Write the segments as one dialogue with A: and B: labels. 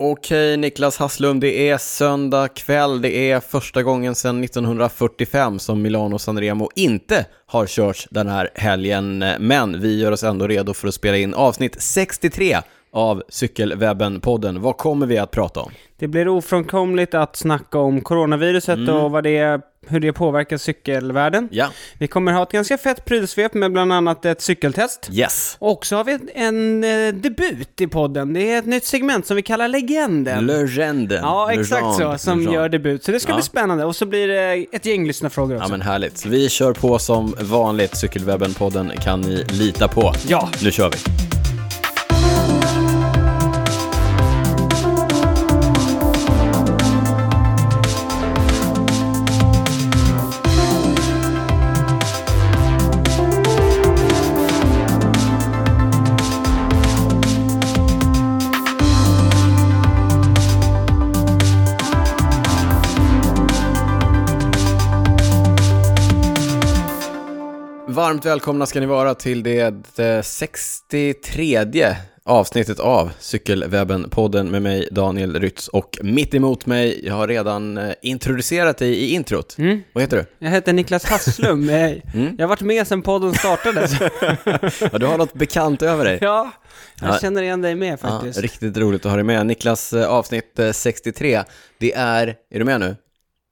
A: Okej, Niklas Hasslum, det är söndag kväll. Det är första gången sedan 1945 som Milano Sanremo inte har körts den här helgen. Men vi gör oss ändå redo för att spela in avsnitt 63 av Cykelwebben-podden. Vad kommer vi att prata om?
B: Det blir ofrånkomligt att snacka om coronaviruset och vad det, hur det påverkar cykelvärlden.
A: Mm. Ja.
B: Vi kommer ha ett ganska fett prylsvep med bland annat ett cykeltest.
A: Yes.
B: Och så har vi en eh, debut i podden. Det är ett nytt segment som vi kallar Legenden.
A: Legenden.
B: ja, exakt så,
A: Legend.
B: som
A: Legend.
B: gör debut. Så det ska
A: Ja.
B: bli spännande. Och så blir det ett gäng lyssnarfrågor också.
A: Ja, men härligt. Så vi kör på som vanligt. Cykelwebben-podden kan ni lita på.
B: Ja.
A: Nu kör vi. Varmt välkomna ska ni vara till det eh, 63 avsnittet av Cykelwebben-podden med mig Daniel Rytz och mitt emot mig, jag har redan eh, introducerat dig i introt.
B: Mm.
A: Vad heter du?
B: Jag heter Niklas Hasslum. Eh,
A: Mm.
B: Jag har varit med sedan podden startade. så-
A: Ja, du har något bekant över dig.
B: ja, jag
A: Ja.
B: känner igen dig med faktiskt.
A: Ja, riktigt roligt att ha dig med. Niklas, eh, avsnitt eh, 63, det är, är du med nu?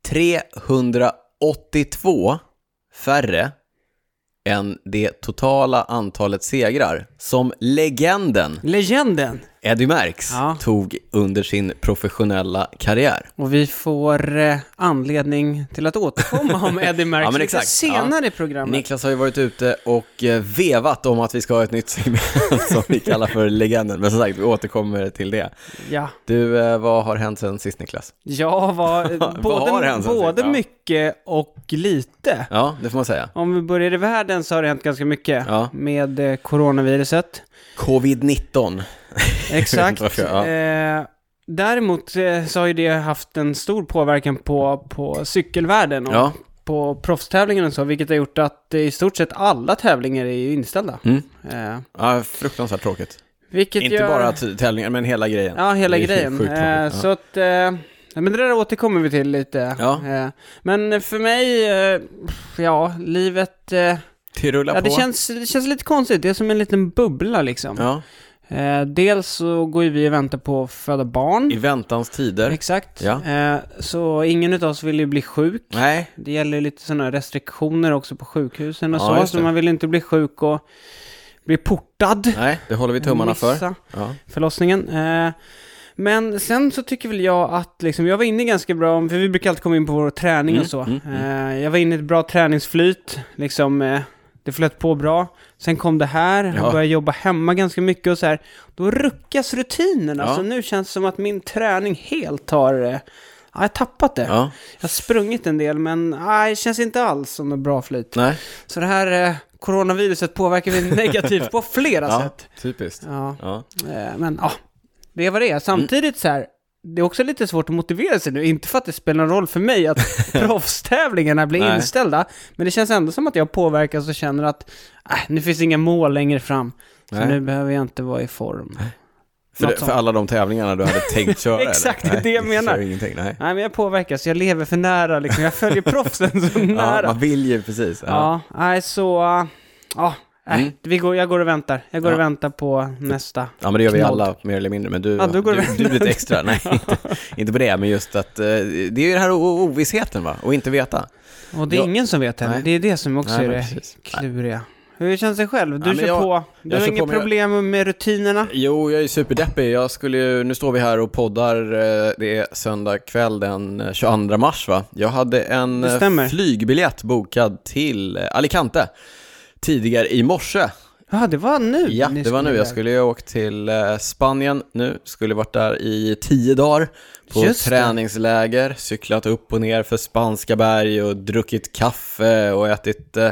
A: 382 färre än det totala antalet segrar som legenden
B: Legenden.
A: Eddie Merckx
B: Ja.
A: tog under sin professionella karriär.
B: Och vi får eh, anledning till att återkomma om Eddie Merckx
A: Ja, men
B: lite
A: exakt.
B: senare i programmet.
A: Niklas har ju varit ute och eh, vevat om att vi ska ha ett nytt segment som vi kallar för legenden, men som sagt, vi återkommer till det.
B: Ja,
A: Du, eh, vad har hänt sen sist Niklas?
B: ja vad, eh,
A: Vad har
B: både,
A: hänt sen
B: både
A: sist? Ja.
B: mycket och lite.
A: Ja, det får man säga.
B: Om vi börjar i världen så har det hänt ganska mycket
A: Ja.
B: med eh, coronaviruset.
A: Covid-19.
B: Exakt.
A: Varför? Ja.
B: eh, däremot eh, så har ju det haft en stor påverkan på, på cykelvärlden och
A: Ja.
B: på proffstävlingarna och så, vilket har gjort att eh, i stort sett alla tävlingar är ju inställda.
A: Mm.
B: Eh,
A: ja, fruktansvärt tråkigt.
B: vilket
A: Inte
B: gör...
A: bara t- tävlingar, men hela grejen.
B: Ja, hela
A: Det är
B: grejen.
A: sjukt
B: Eh,
A: tråkigt.
B: Så att, eh, ja, men det där återkommer vi till lite.
A: Ja.
B: Eh, men för mig, eh, ja, livet, eh,
A: Det rullar
B: ja, det,
A: på.
B: känns, det känns lite konstigt. Det är som en liten bubbla liksom.
A: Ja,
B: Eh, dels så går ju vi och väntar på att föda barn.
A: i väntans tider.
B: Exakt.
A: Ja.
B: Eh, så ingen av oss vill ju bli sjuk.
A: Nej,
B: Det gäller lite sådana restriktioner också på sjukhusen och
A: Ja,
B: så.
A: just
B: Så
A: det.
B: man vill inte bli sjuk och bli portad.
A: nej, det håller vi tummarna för.
B: Missa
A: Ja.
B: förlossningen. Eh, men sen så tycker väl jag att liksom, jag var inne ganska bra, om- för vi brukar alltid komma in på vår träning
A: Mm,
B: och så.
A: mm,
B: Eh, jag var inne i ett bra träningsflyt, liksom, eh, det flöt på bra. Sen kom det här, jag
A: Ja.
B: började jobba hemma ganska mycket och så här. Då ruckas rutinerna,
A: Ja.
B: så nu känns det som att min träning helt har... Eh, ja, jag har tappat det.
A: ja,
B: Jag har sprungit en del, men nej, det känns inte alls som något bra flyt.
A: nej.
B: Så det här eh, coronaviruset påverkar vi negativt på flera
A: Ja,
B: sätt.
A: typiskt.
B: Ja.
A: Ja.
B: Eh, Men ja, det är vad det är. Samtidigt så här, det är också lite svårt att motivera sig nu. Inte för att det spelar någon roll för mig att proffstävlingarna blir
A: Nej.
B: inställda, men det känns ändå som att jag påverkas och känner att äh, nu finns inga mål längre fram. Så
A: Nej.
B: nu behöver jag inte vara i form.
A: För,
B: Något
A: för
B: sånt.
A: alla de tävlingarna du hade tänkt köra? eller?
B: Exakt, det är
A: Nej,
B: det jag
A: du
B: menar.
A: kör Ingenting, nej.
B: Nej, men jag påverkas. Jag lever för nära liksom. Jag följer proffsen så nära.
A: Ja, man vill ju precis. Ja.
B: Ja, nej så... äh, Ja, äh,
A: Mm.
B: vi går, jag går och väntar. Jag går
A: Ja.
B: och väntar på nästa.
A: ja, men det gör vi
B: Knodd.
A: alla mer eller mindre. Men du,
B: Ja, då går
A: du,
B: det-
A: du är lite extra. Nej, inte, inte på det, men just att eh, det är ju den här o- ovissheten va, och inte veta.
B: Och det är
A: Ja.
B: ingen som vet heller.
A: Nej.
B: Det är det som också
A: Nej,
B: är
A: men
B: det
A: precis.
B: kluriga. Hur känns det själv? Du
A: Ja, men
B: kör
A: jag-
B: på. Du
A: jag
B: har
A: kör
B: inga
A: på, men jag-
B: problem med rutinerna?
A: Jo, jag är superdeppig. Jag skulle ju, nu står vi här och poddar, eh, det är söndag kväll den eh, 22 mars va? Jag hade en
B: Det
A: eh,
B: stämmer.
A: flygbiljett bokad till eh, Alicante tidigare i morse.
B: Ja, det var nu.
A: Ja,
B: ni
A: det var nu.
B: iväg.
A: Jag skulle ju ha åkt till eh, Spanien nu, skulle varit där i tio dagar på
B: Just det.
A: träningsläger, cyklat upp och ner för spanska berg och druckit kaffe och ätit eh,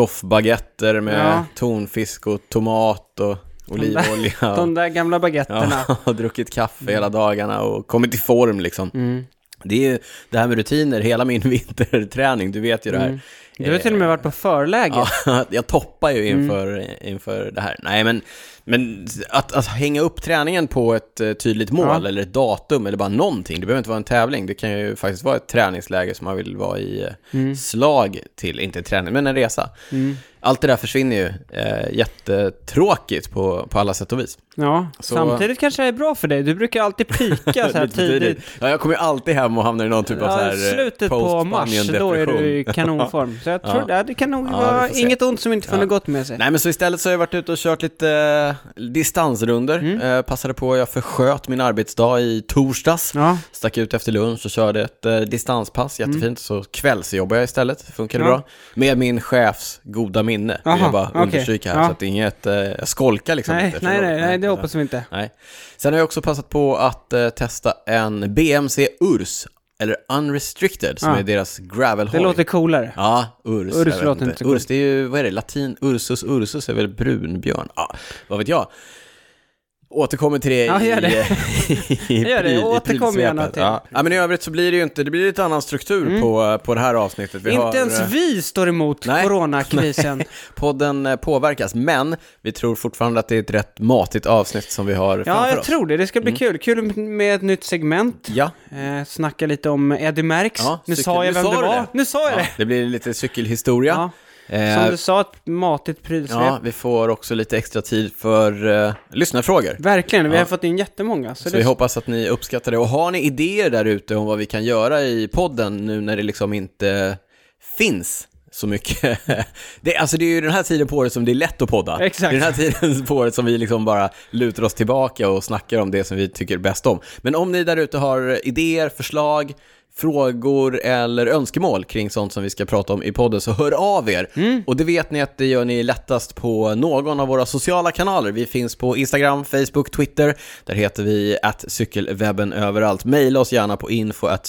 A: bake-off-baguetter med
B: Ja.
A: tonfisk och tomat och olivolja.
B: De Mm. där gamla baguetterna.
A: Ja, och druckit kaffe hela dagarna och kommit i form liksom.
B: Mm. Mm.
A: Det är ju det här med rutiner, hela min vinterträning, du vet ju det här.
B: Du har till och med varit på förläger.
A: Eh, Ja, jag toppar ju
B: Mm.
A: inför, inför det här. Nej, men, men att, att hänga upp träningen på ett eh, tydligt mål
B: Ja.
A: eller ett datum eller bara någonting. Det behöver inte vara en tävling. Det kan ju faktiskt vara ett träningsläger som man vill vara i eh,
B: Mm.
A: slag till. Inte en träning, men en resa. Allt det där försvinner ju. Eh, jättetråkigt på, på alla sätt och vis.
B: Ja,
A: Så-
B: samtidigt kanske det är bra för dig. Du brukar alltid pika så här
A: Lite
B: tidigt.
A: Ja, jag kommer ju alltid hem och hamnar i någon typ av så
B: Ja,
A: här eh,
B: slutet på mars, då är
A: post-Spanien-depression.
B: du i kanonform. Så jag tror det, det kan nog
A: Ja, vi
B: vara
A: får se.
B: inget ont som inte får
A: Ja.
B: något gott med sig.
A: Nej men så istället så har jag varit ute och kört lite eh, distansrunder.
B: Mm.
A: Eh, passade på, jag försköt min arbetsdag i torsdags.
B: Ja, Mm.
A: Stack ut efter lunch och körde ett eh, distanspass, jättefint. Så kvällsjobbar jag istället, funkade
B: Ja.
A: bra. Med min chefs goda minne, vill
B: Aha,
A: jag bara
B: okej.
A: understryka här.
B: Ja.
A: Så att det är inget, eh, jag skolkar liksom
B: nej,
A: inte. eftersom
B: nej,
A: jag-
B: nej, nej, det hoppas vi inte.
A: Nej. Sen har jag också passat på att eh, testa en BMC Urs, eller Unrestricted, som
B: Ja.
A: är deras gravelhoj.
B: Det låter coolare.
A: Ja, urs.
B: Urs
A: jag vet
B: låter inte så
A: Urs, det är ju, vad är det, latin, ursus, ursus är väl brunbjörn? Ja, vad vet jag. Återkommer till det
B: Ja,
A: i,
B: gör det.
A: i, i,
B: Gör det,
A: pryl- i
B: återkom
A: prylsvepet.
B: gärna till. Mm.
A: Ja. ja, men i övrigt så blir det ju inte, det blir lite annan struktur på, på det här avsnittet. Vi har,
B: inte ens
A: eh,
B: vi står emot
A: Nej.
B: coronakrisen.
A: Podden eh, påverkas, men vi tror fortfarande att det är ett rätt matigt avsnitt som vi har framför
B: Ja, jag
A: oss.
B: tror det. Det ska
A: Mm.
B: bli kul. Kul med ett nytt segment.
A: Ja,
B: Eh, snacka lite om Eddie Merckx.
A: Ja,
B: nu
A: cykel-
B: sa jag
A: nu
B: vem
A: sa
B: det
A: du
B: var.
A: det.
B: Nu sa jag
A: ja,
B: det.
A: det blir lite cykelhistoria.
B: Ja.
A: Eh,
B: Som du sa, ett matigt prylsvep.
A: ja, vi får också lite extra tid för eh, lyssnarfrågor.
B: Verkligen, vi
A: Ja.
B: har fått in jätmånga. Så
A: Så
B: det
A: vi hoppas att ni uppskattar det. Och har ni idéer där ute om vad vi kan göra i podden nu när det liksom inte finns så mycket. Det, alltså det är ju den här tiden på året som det är lätt att podda.
B: Exakt.
A: Det är den här tiden på året som vi liksom bara lutar oss tillbaka och snackar om det som vi tycker bäst om. Men om ni där ute har idéer, förslag, frågor eller önskemål kring sånt som vi ska prata om i podden så hör av er. Och det vet ni att det gör ni lättast på någon av våra sociala kanaler. Vi finns på Instagram, Facebook, Twitter. Där heter vi att cykelwebben överallt. Maila oss gärna på info at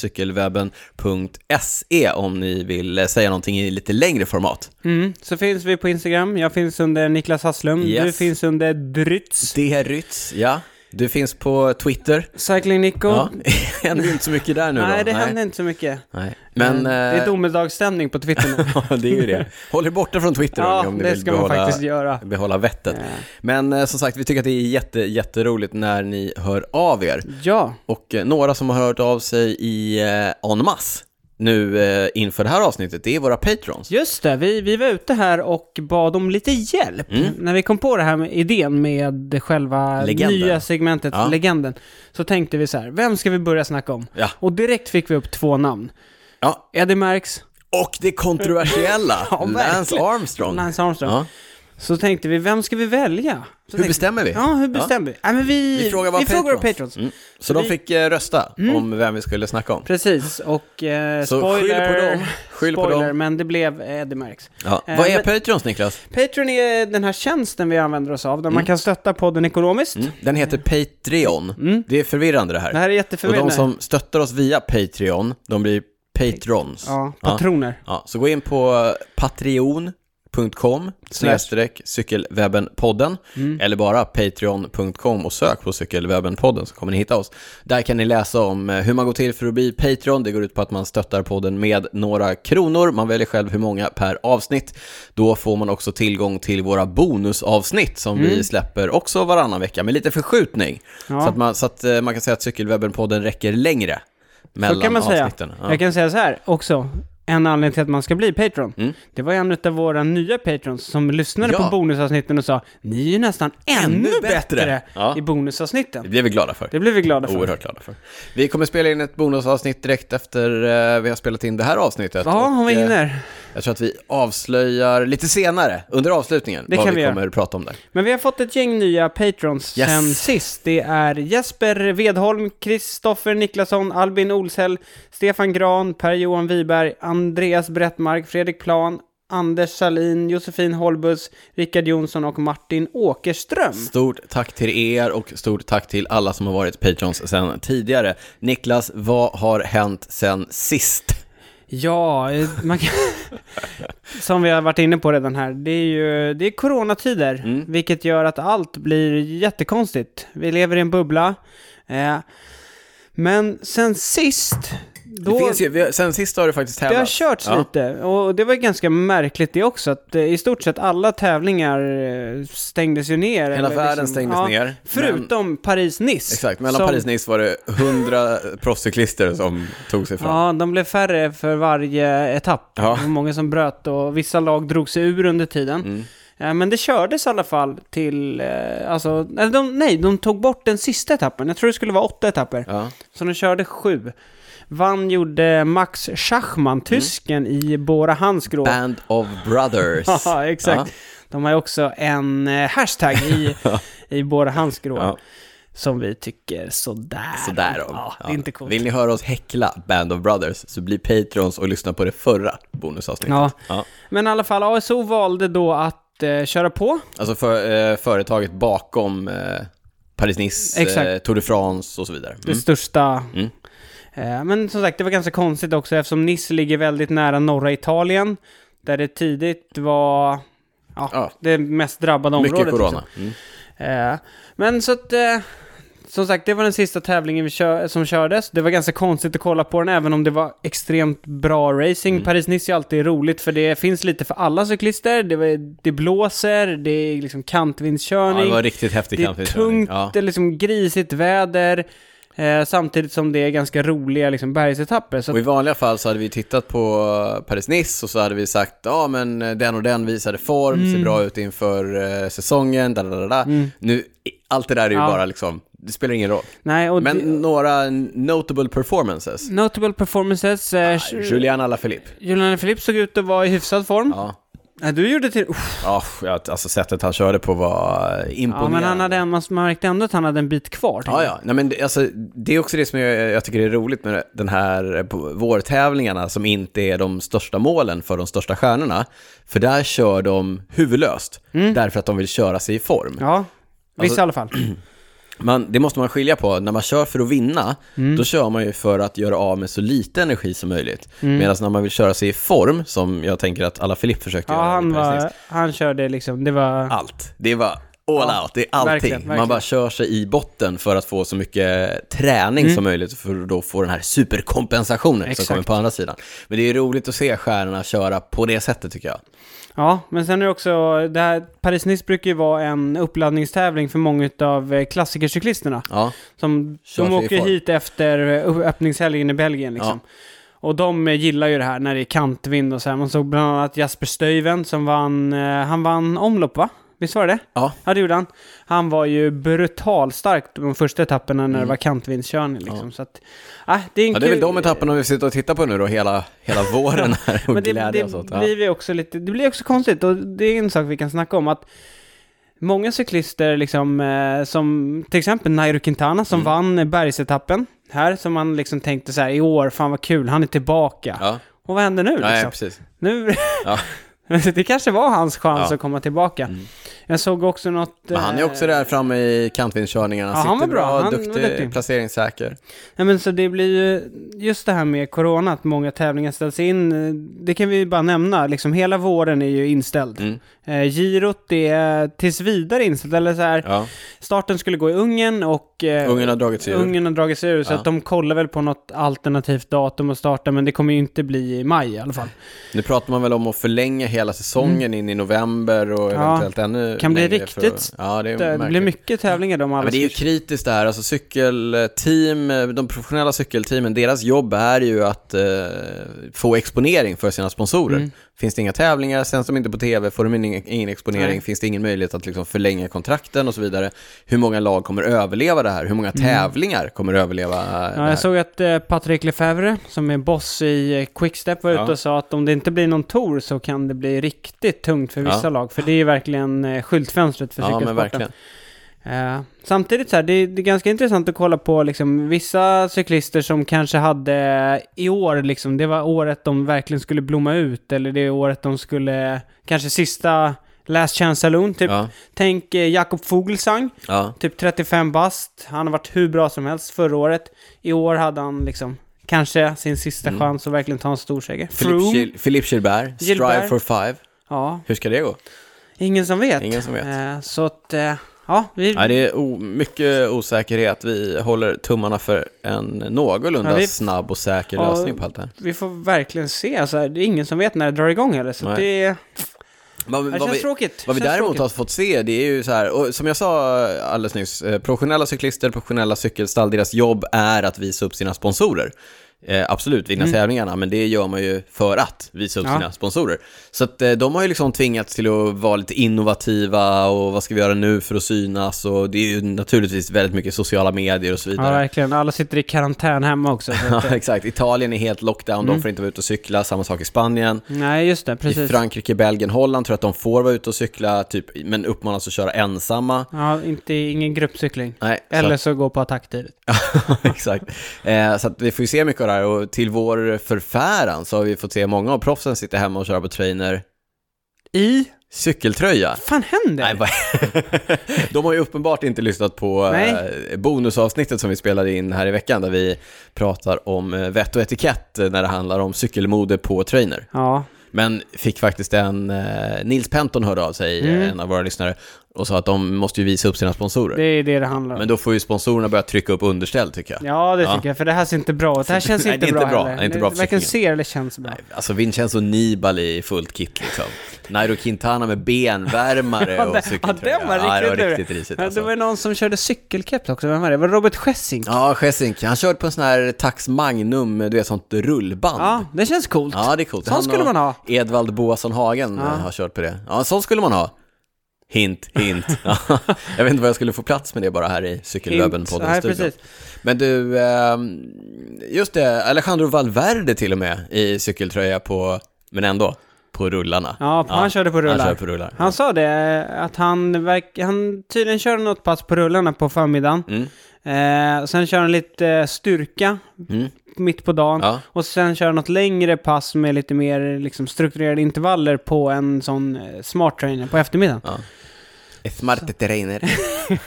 A: cykelwebben.se E om ni vill eh, säga någonting i lite längre format.
B: Mm, så finns vi på Instagram. Jag finns under Niklas Hasslum.
A: Yes.
B: Du finns under Drytz.
A: Det är Rytz, ja. Du finns på Twitter.
B: Cycling Nico.
A: Ja, händer ju inte så mycket där nu
B: Nej,
A: då.
B: det händer inte så mycket.
A: Nej. Men...
B: det är
A: eh,
B: domedagsstämning på Twitter nu.
A: Ja, det är ju det. Håll er borta från Twitter hörni,
B: ja,
A: om ni
B: det
A: vill
B: ska man
A: behålla,
B: faktiskt göra.
A: behålla vettet. Men eh, som sagt, vi tycker att det är jätte, jätteroligt när ni hör av er.
B: Ja,
A: Och eh, några som har hört av sig i eh, en masse nu eh, inför det här avsnittet, det är våra patrons.
B: just det. Vi, vi var ute här och bad om lite hjälp.
A: Mm.
B: När vi kom på det här med idén med själva
A: Legenden.
B: nya segmentet,
A: Ja.
B: legenden, så tänkte vi så här, vem ska vi börja snacka om?
A: Ja.
B: Och direkt fick vi upp två namn.
A: ja.
B: Eddie Merckx,
A: Och det kontroversiella,
B: Ja,
A: Lance
B: verkligen.
A: Armstrong.
B: Lance Armstrong.
A: Ja.
B: Så tänkte vi, vem ska vi välja? Så
A: Hur
B: tänkte
A: bestämmer vi?
B: Ja, hur bestämmer vi? Nej, men vi,
A: Vi frågar våra
B: frågar
A: patrons.
B: patrons.
A: Mm. Så de
B: vi- Mm.
A: fick eh, rösta om vem vi skulle snacka om.
B: Precis, och eh,
A: Så
B: spoiler,
A: skyll på dem. Skyll på
B: spoiler
A: dem.
B: men det blev Eddie Merckx.
A: Ja.
B: Eh,
A: Vad är
B: men-
A: Patreons, Niklas?
B: Patreon är den här tjänsten vi använder oss av, där
A: Mm.
B: man kan stötta podden ekonomiskt.
A: Den heter Patreon. Det är förvirrande det här.
B: Mm. Det här är
A: Och de
B: jätteförvirrande.
A: som stöttar oss via Patreon, de blir patrons.
B: Ja, patroner.
A: Ja, så gå in på patreon.com snedstreck cykelwebbenpodden
B: Mm.
A: eller bara patreon.com och sök på cykelwebbenpodden så kommer ni hitta oss. Där kan ni läsa om eh, hur man går till för att bli Patreon. Det går ut på att man stöttar podden med några kronor. Man väljer själv hur många per avsnitt. Då får man också tillgång till våra bonusavsnitt som vi släpper också varannan vecka med lite förskjutning.
B: Mm. Ja.
A: Så, att man, så att eh, man kan säga att cykelwebbenpodden räcker längre. Mellan
B: Så kan man säga.
A: avsnitten. Ja.
B: Jag kan säga så här också. En anledning till att man ska bli Patreon, det var en av våra nya Patrons som lyssnade
A: Mm. Ja.
B: på bonusavsnitten och sa Ni är ju nästan ännu,
A: Ännu bättre."
B: bättre,
A: Ja.
B: i
A: Det
B: bonusavsnitten.
A: blir vi glada för.
B: Det blev vi glada för.
A: Oerhört glada för. Vi kommer spela in ett bonusavsnitt direkt efter eh, vi har spelat in det här avsnittet.
B: Ja,
A: Och,
B: om vi
A: eh,
B: hinner.
A: Jag tror att vi avslöjar lite senare, under avslutningen,
B: Det
A: vad
B: kan
A: vi
B: vi
A: kommer prata om där.
B: Men vi har fått ett gäng nya patrons
A: Yes.
B: sen sist. Det är Jesper Vedholm, Kristoffer Niklasson, Albin Olshäll, Stefan Gran, Per-Johan Wiberg, Andreas Brettmark, Fredrik Plan, Anders Salin, Josefin Holbus, Rickard Jonsson och Martin Åkerström.
A: Stort tack till er och stort tack till alla som har varit patrons sedan tidigare. Niklas, vad har hänt sen sist?
B: Ja, eh, man kan... som vi har varit inne på redan här, det är ju det är coronatider,
A: Mm.
B: vilket gör att allt blir jättekonstigt. Vi lever i en bubbla. Eh, men sen sist, Då,
A: det finns ju, vi har, sen sist har det faktiskt
B: det har
A: tävlats.
B: körts
A: Ja.
B: lite och det var ju ganska märkligt det också att eh, i stort sett alla tävlingar eh, stängdes ju ner. liksom-
A: Hela världen stängdes ner,
B: Förutom Paris-Nice.
A: Exakt, mellan
B: som-
A: Paris och Nice var det 100 proffscyklister som tog sig fram.
B: Ja, de blev färre för varje etapp.
A: Ja.
B: Det var många som bröt och vissa lag drog sig ur under tiden.
A: Mm.
B: Eh, Men det kördes i alla fall till, eh, alltså, nej de, nej, de tog bort den sista etappen. Jag tror det skulle vara åtta etapper.
A: Ja.
B: Så de körde sju. Vann gjorde Max
A: Mm.
B: Schachmann, tysken, i Bora Hansgrohe.
A: Band of Brothers.
B: Ja, exakt. De har ju också en eh, hashtag i, i Bora Hansgrohe.
A: Ja.
B: Som vi tycker sådär.
A: Sådär om.
B: Ja, det är
A: Ja.
B: inte coolt.
A: Vill ni höra oss häckla Band of Brothers så bli patrons och lyssna på det förra bonusavsnittet.
B: Ja.
A: Ja.
B: Men i alla fall, ASO valde då att eh, köra på.
A: Alltså för, eh, företaget bakom eh, Paris-Nice, eh,
B: Exakt.
A: Tour de France och så vidare. Mm.
B: Det största.
A: Mm.
B: Eh, men som sagt, det var ganska konstigt också eftersom Nice ligger väldigt nära norra Italien. Där det tidigt var ja,
A: Ja.
B: det mest drabbade området.
A: Mycket
B: liksom.
A: corona. Mm.
B: Eh, men så att... Eh, som sagt, det var den sista tävlingen vi kö- som kördes. Det var ganska konstigt att kolla på den, även om det var extremt bra racing.
A: Mm.
B: Paris-Nice är alltid roligt, för det finns lite för alla cyklister. Det, var, det blåser, det är liksom
A: Ja,
B: kantvindskörning.
A: det var riktigt häftig
B: Det är
A: kantvindskörning.
B: tungt,
A: Ja.
B: det är liksom grisigt väder, eh, samtidigt som det är ganska roliga liksom, bergsetapper. Så
A: Och
B: att,
A: i vanliga fall så hade vi tittat på Paris-Nice och så hade vi sagt ja men eh, den och den visade form,
B: Mm.
A: ser bra ut inför eh, säsongen, da, da, da, da. Nu, allt det där är ju
B: Ja.
A: bara liksom, det spelar ingen roll.
B: nej, och
A: Men
B: det,
A: några notable performances.
B: notable performances. Eh, Ju-
A: Julian Alaphilippe.
B: Julian Philippe såg ut att vara i hyfsad form.
A: Ja.
B: Nej, Du gjorde till... Uff,
A: Ja, jag- alltså sättet han körde på var eh,
B: ja,
A: imponerande.
B: men han hade, en- man märkte ändå att han hade en bit kvar.
A: Ja, ja. Nej, men det, alltså, det är också det som jag, jag tycker är roligt med den här eh, på- vårtävlingarna som inte är de största målen för de största stjärnorna. För där kör de huvudlöst, därför att de vill köra sig i form.
B: Mm. ja vissa
A: Alltså-
B: i alla fall.
A: Man, det måste man skilja på. När man kör för att vinna,
B: Mm.
A: då kör man ju för att göra av med så lite energi som möjligt.
B: Mm.
A: Medan när man vill köra sig i form, som jag tänker att alla Filipp försökte
B: Ja,
A: göra. i
B: han,
A: Paris-Nice,
B: var, han körde liksom, det var...
A: allt. Det var all out, det är allting.
B: verkligen, verkligen.
A: Man bara kör sig i botten för att få så mycket träning som möjligt för att då få den här superkompensationen
B: Mm. Exakt.
A: som kommer på andra sidan. Men det är roligt att se stjärnorna köra på det sättet tycker jag.
B: Ja, men sen är det också, det här, Paris-Nice brukar ju vara en uppladdningstävling för många av klassikercyklisterna.
A: Ja,
B: Som,
A: Kör
B: de
A: sig i
B: åker
A: form.
B: hit efter eh, öppningshelgen i Belgien liksom. Och de eh, gillar ju det här när det är kantvind och så här. Man såg bland annat Jasper Stuyven som vann, eh, han vann omlopp va? Visst var det det?
A: ja.
B: Ja det gjorde han. Han var ju brutal stark de första etapperna när det var kantvindskörning liksom. Så att, ah, det är en
A: Mm. ja det är väl
B: kul-
A: de etapperna vi sitter och tittar på nu då hela, hela våren här och
B: men det,
A: glädje och sånt.
B: det
A: Ja.
B: blir ju också lite, det blir också konstigt och det är en sak vi kan snacka om att många cyklister liksom, eh, som till exempel Nairo Quintana
A: Mm.
B: som vann bergsetappen här, som man liksom tänkte så här i år, fan vad kul, han är tillbaka.
A: Ja.
B: Och vad händer nu
A: Ja, ja,
B: liksom?
A: precis.
B: Nu...
A: Ja.
B: det kanske var hans chans
A: Ja. Mm.
B: att komma tillbaka. Jag såg också något... eh,
A: Men han är också där framme i kantvindskörningarna.
B: Ja, han var
A: sitter
B: bra. Han var
A: duktig,
B: duktig.
A: placeringssäker.
B: Nej men så det blir ju, just det här med corona, att många tävlingar ställs in, eh, det kan vi ju bara nämna, liksom hela våren är ju inställd.
A: Mm.
B: Eh, girot är tills vidare inställt, eller så här,
A: Ja.
B: starten skulle gå i Ungern och eh,
A: Ungen har dragit sig ur.
B: Ungern har dragit sig ur, så
A: Ja.
B: att de kollar väl på något alternativt datum att starta, men det kommer ju inte bli i maj i alla fall.
A: Nu pratar man väl om att förlänga hela säsongen in i november och
B: Mm. Ja,
A: eventuellt ännu
B: kan bli
A: längre för att-
B: riktigt
A: Ja, det är
B: Det, det blir
A: märkligt.
B: mycket tävlingar de
A: Ja,
B: alla
A: men det är ju kritiskt det här, alltså cykelteam, eh, de professionella cykelteamen, deras jobb är ju att eh, få exponering för sina sponsorer.
B: Mm.
A: Finns det inga tävlingar, sänds de inte på tv, får de ingen, ingen exponering,
B: Nej.
A: finns det ingen möjlighet att liksom förlänga kontrakten och så vidare. Hur många lag kommer överleva det här? Hur många tävlingar kommer överleva eh, det
B: Mm. Ja,
A: här?
B: jag såg att eh, Patrick Lefevre, som är boss i eh, Quickstep, var ute
A: Ja.
B: och sa att om det inte blir någon tour så kan det bli riktigt tungt för vissa
A: Ja.
B: lag. För det är ju verkligen eh, skyltfönstret för
A: Ja, men
B: cykelsporten.
A: verkligen.
B: Eh, samtidigt så här, det, är- det är ganska intressant att kolla på liksom, vissa cyklister som kanske hade eh, i år, liksom, det var året de verkligen skulle blomma ut, eller det året de skulle, kanske sista last chance saloon, typ.
A: Ja,
B: Tänk eh, Jakob Fuglsang,
A: ja.
B: Typ 35 bast, han har varit hur bra som helst förra året. I år hade han liksom kanske sin sista chans att verkligen ta en stor seger.
A: Philippe
B: Froome?
A: Gil- Philippe Gilbert, Strive
B: Gilbert.
A: for Five.
B: Ja,
A: Hur ska det gå?
B: ingen som vet.
A: Ingen som vet.
B: Eh, så att, eh, Ja, vi,
A: Nej, det är o- mycket osäkerhet. Vi håller tummarna för en någorlunda
B: Ja, vi-
A: snabb och säker
B: Ja.
A: lösning på allt det här.
B: vi får verkligen se. Alltså, det är ingen som vet när det drar igång heller, så
A: Nej.
B: det, det
A: Vad, vad,
B: känns
A: vi,
B: tråkigt.
A: vad vi
B: Känns
A: däremot
B: tråkigt.
A: har fått se, det är ju så här, och som jag sa alldeles nyss, eh, professionella cyklister, professionella cykelstall, deras jobb är att visa upp sina sponsorer. Eh, absolut, vinna tävlingarna, men det gör man ju för att visa upp
B: Mm. Ja.
A: sina sponsorer. Så att, eh, de har ju liksom tvingats till att vara lite innovativa och vad ska vi göra nu för att synas och det är ju naturligtvis väldigt mycket sociala medier och så
B: Ja,
A: vidare.
B: verkligen. Alla sitter i karantän hemma också. Så
A: Ja,
B: att, eh,
A: exakt. Italien är helt lockdown, de får inte vara ute och cykla, samma sak i Spanien.
B: nej, just det.
A: I
B: Mm. Precis.
A: Frankrike, Belgien, Holland tror jag att de får vara ute och cykla, typ, men uppmanas att köra ensamma.
B: Ja, inte, ingen gruppcykling.
A: Nej,
B: Eller
A: så
B: så gå på attack tidigt.
A: att, exakt. Eh, så att vi får ju se mycket av det här och till vår förfäran så har vi fått se många av proffsen sitta hemma och köra på trainer
B: I?
A: cykeltröja.
B: Vad fan händer?
A: Nej, vad- de har ju uppenbart inte lyssnat på eh,
B: Nej.
A: bonusavsnittet som vi spelade in här i veckan där vi pratar om eh, vett och etikett eh, när det handlar om cykelmode på trainer.
B: Ja,
A: Men fick faktiskt en, eh, Nils Penton hörde av sig,
B: Mm.
A: eh, en av våra lyssnare, och sa att de måste ju visa upp sina sponsorer.
B: det är det det handlar om.
A: Men då får ju sponsorerna börja trycka upp underställ tycker jag.
B: Ja, det
A: Ja.
B: tycker jag, för det här ser inte bra ut. Det här känns
A: Nej,
B: inte,
A: det är
B: bra
A: inte bra.
B: heller.
A: Det är inte bra för
B: varken
A: cyklingen.
B: ser eller känns bra.
A: Nej, Alltså Vincenzo Nibali i fullt kit liksom. Nairo Quintana med benvärmare
B: Ja, det-
A: och cykeltröja.
B: ja, den var
A: det var
B: riktigt lurig.
A: riktigt risigt
B: Men det
A: alltså.
B: var ju någon som körde cykelkeps också, vem var det? Var det Robert Schessing? Ja,
A: Ja, Schesink, han körde på en sån här Tax Magnum, du vet sånt rullband.
B: det känns coolt.
A: Ja, det är coolt.
B: Sån
A: Han
B: skulle
A: och
B: man ha.
A: Edvald Boasson Hagen eh, har kört på det. Ja, sån skulle man ha. Hint, hint. Ja, jag vet inte vad jag skulle få plats med det bara här i cykelwebben
B: Hint. Nej,
A: podden studion.
B: precis.
A: Men du, ehm, just det, Alejandro Valverde till och med i cykeltröja på, men ändå, på rullarna.
B: Ja, han körde på
A: Han
B: rullar.
A: kör på rullar.
B: Han sa det, eh, att han, verk, han tydligen körde något pass på rullarna på förmiddagen.
A: Mm.
B: Eh, och sen kör han lite eh, styrka
A: Mm.
B: mitt på dagen.
A: Ja.
B: Och sen kör han något längre pass med lite mer liksom, strukturerade intervaller på en sån eh, smart trainer på eftermiddagen.
A: Smarte terreiner.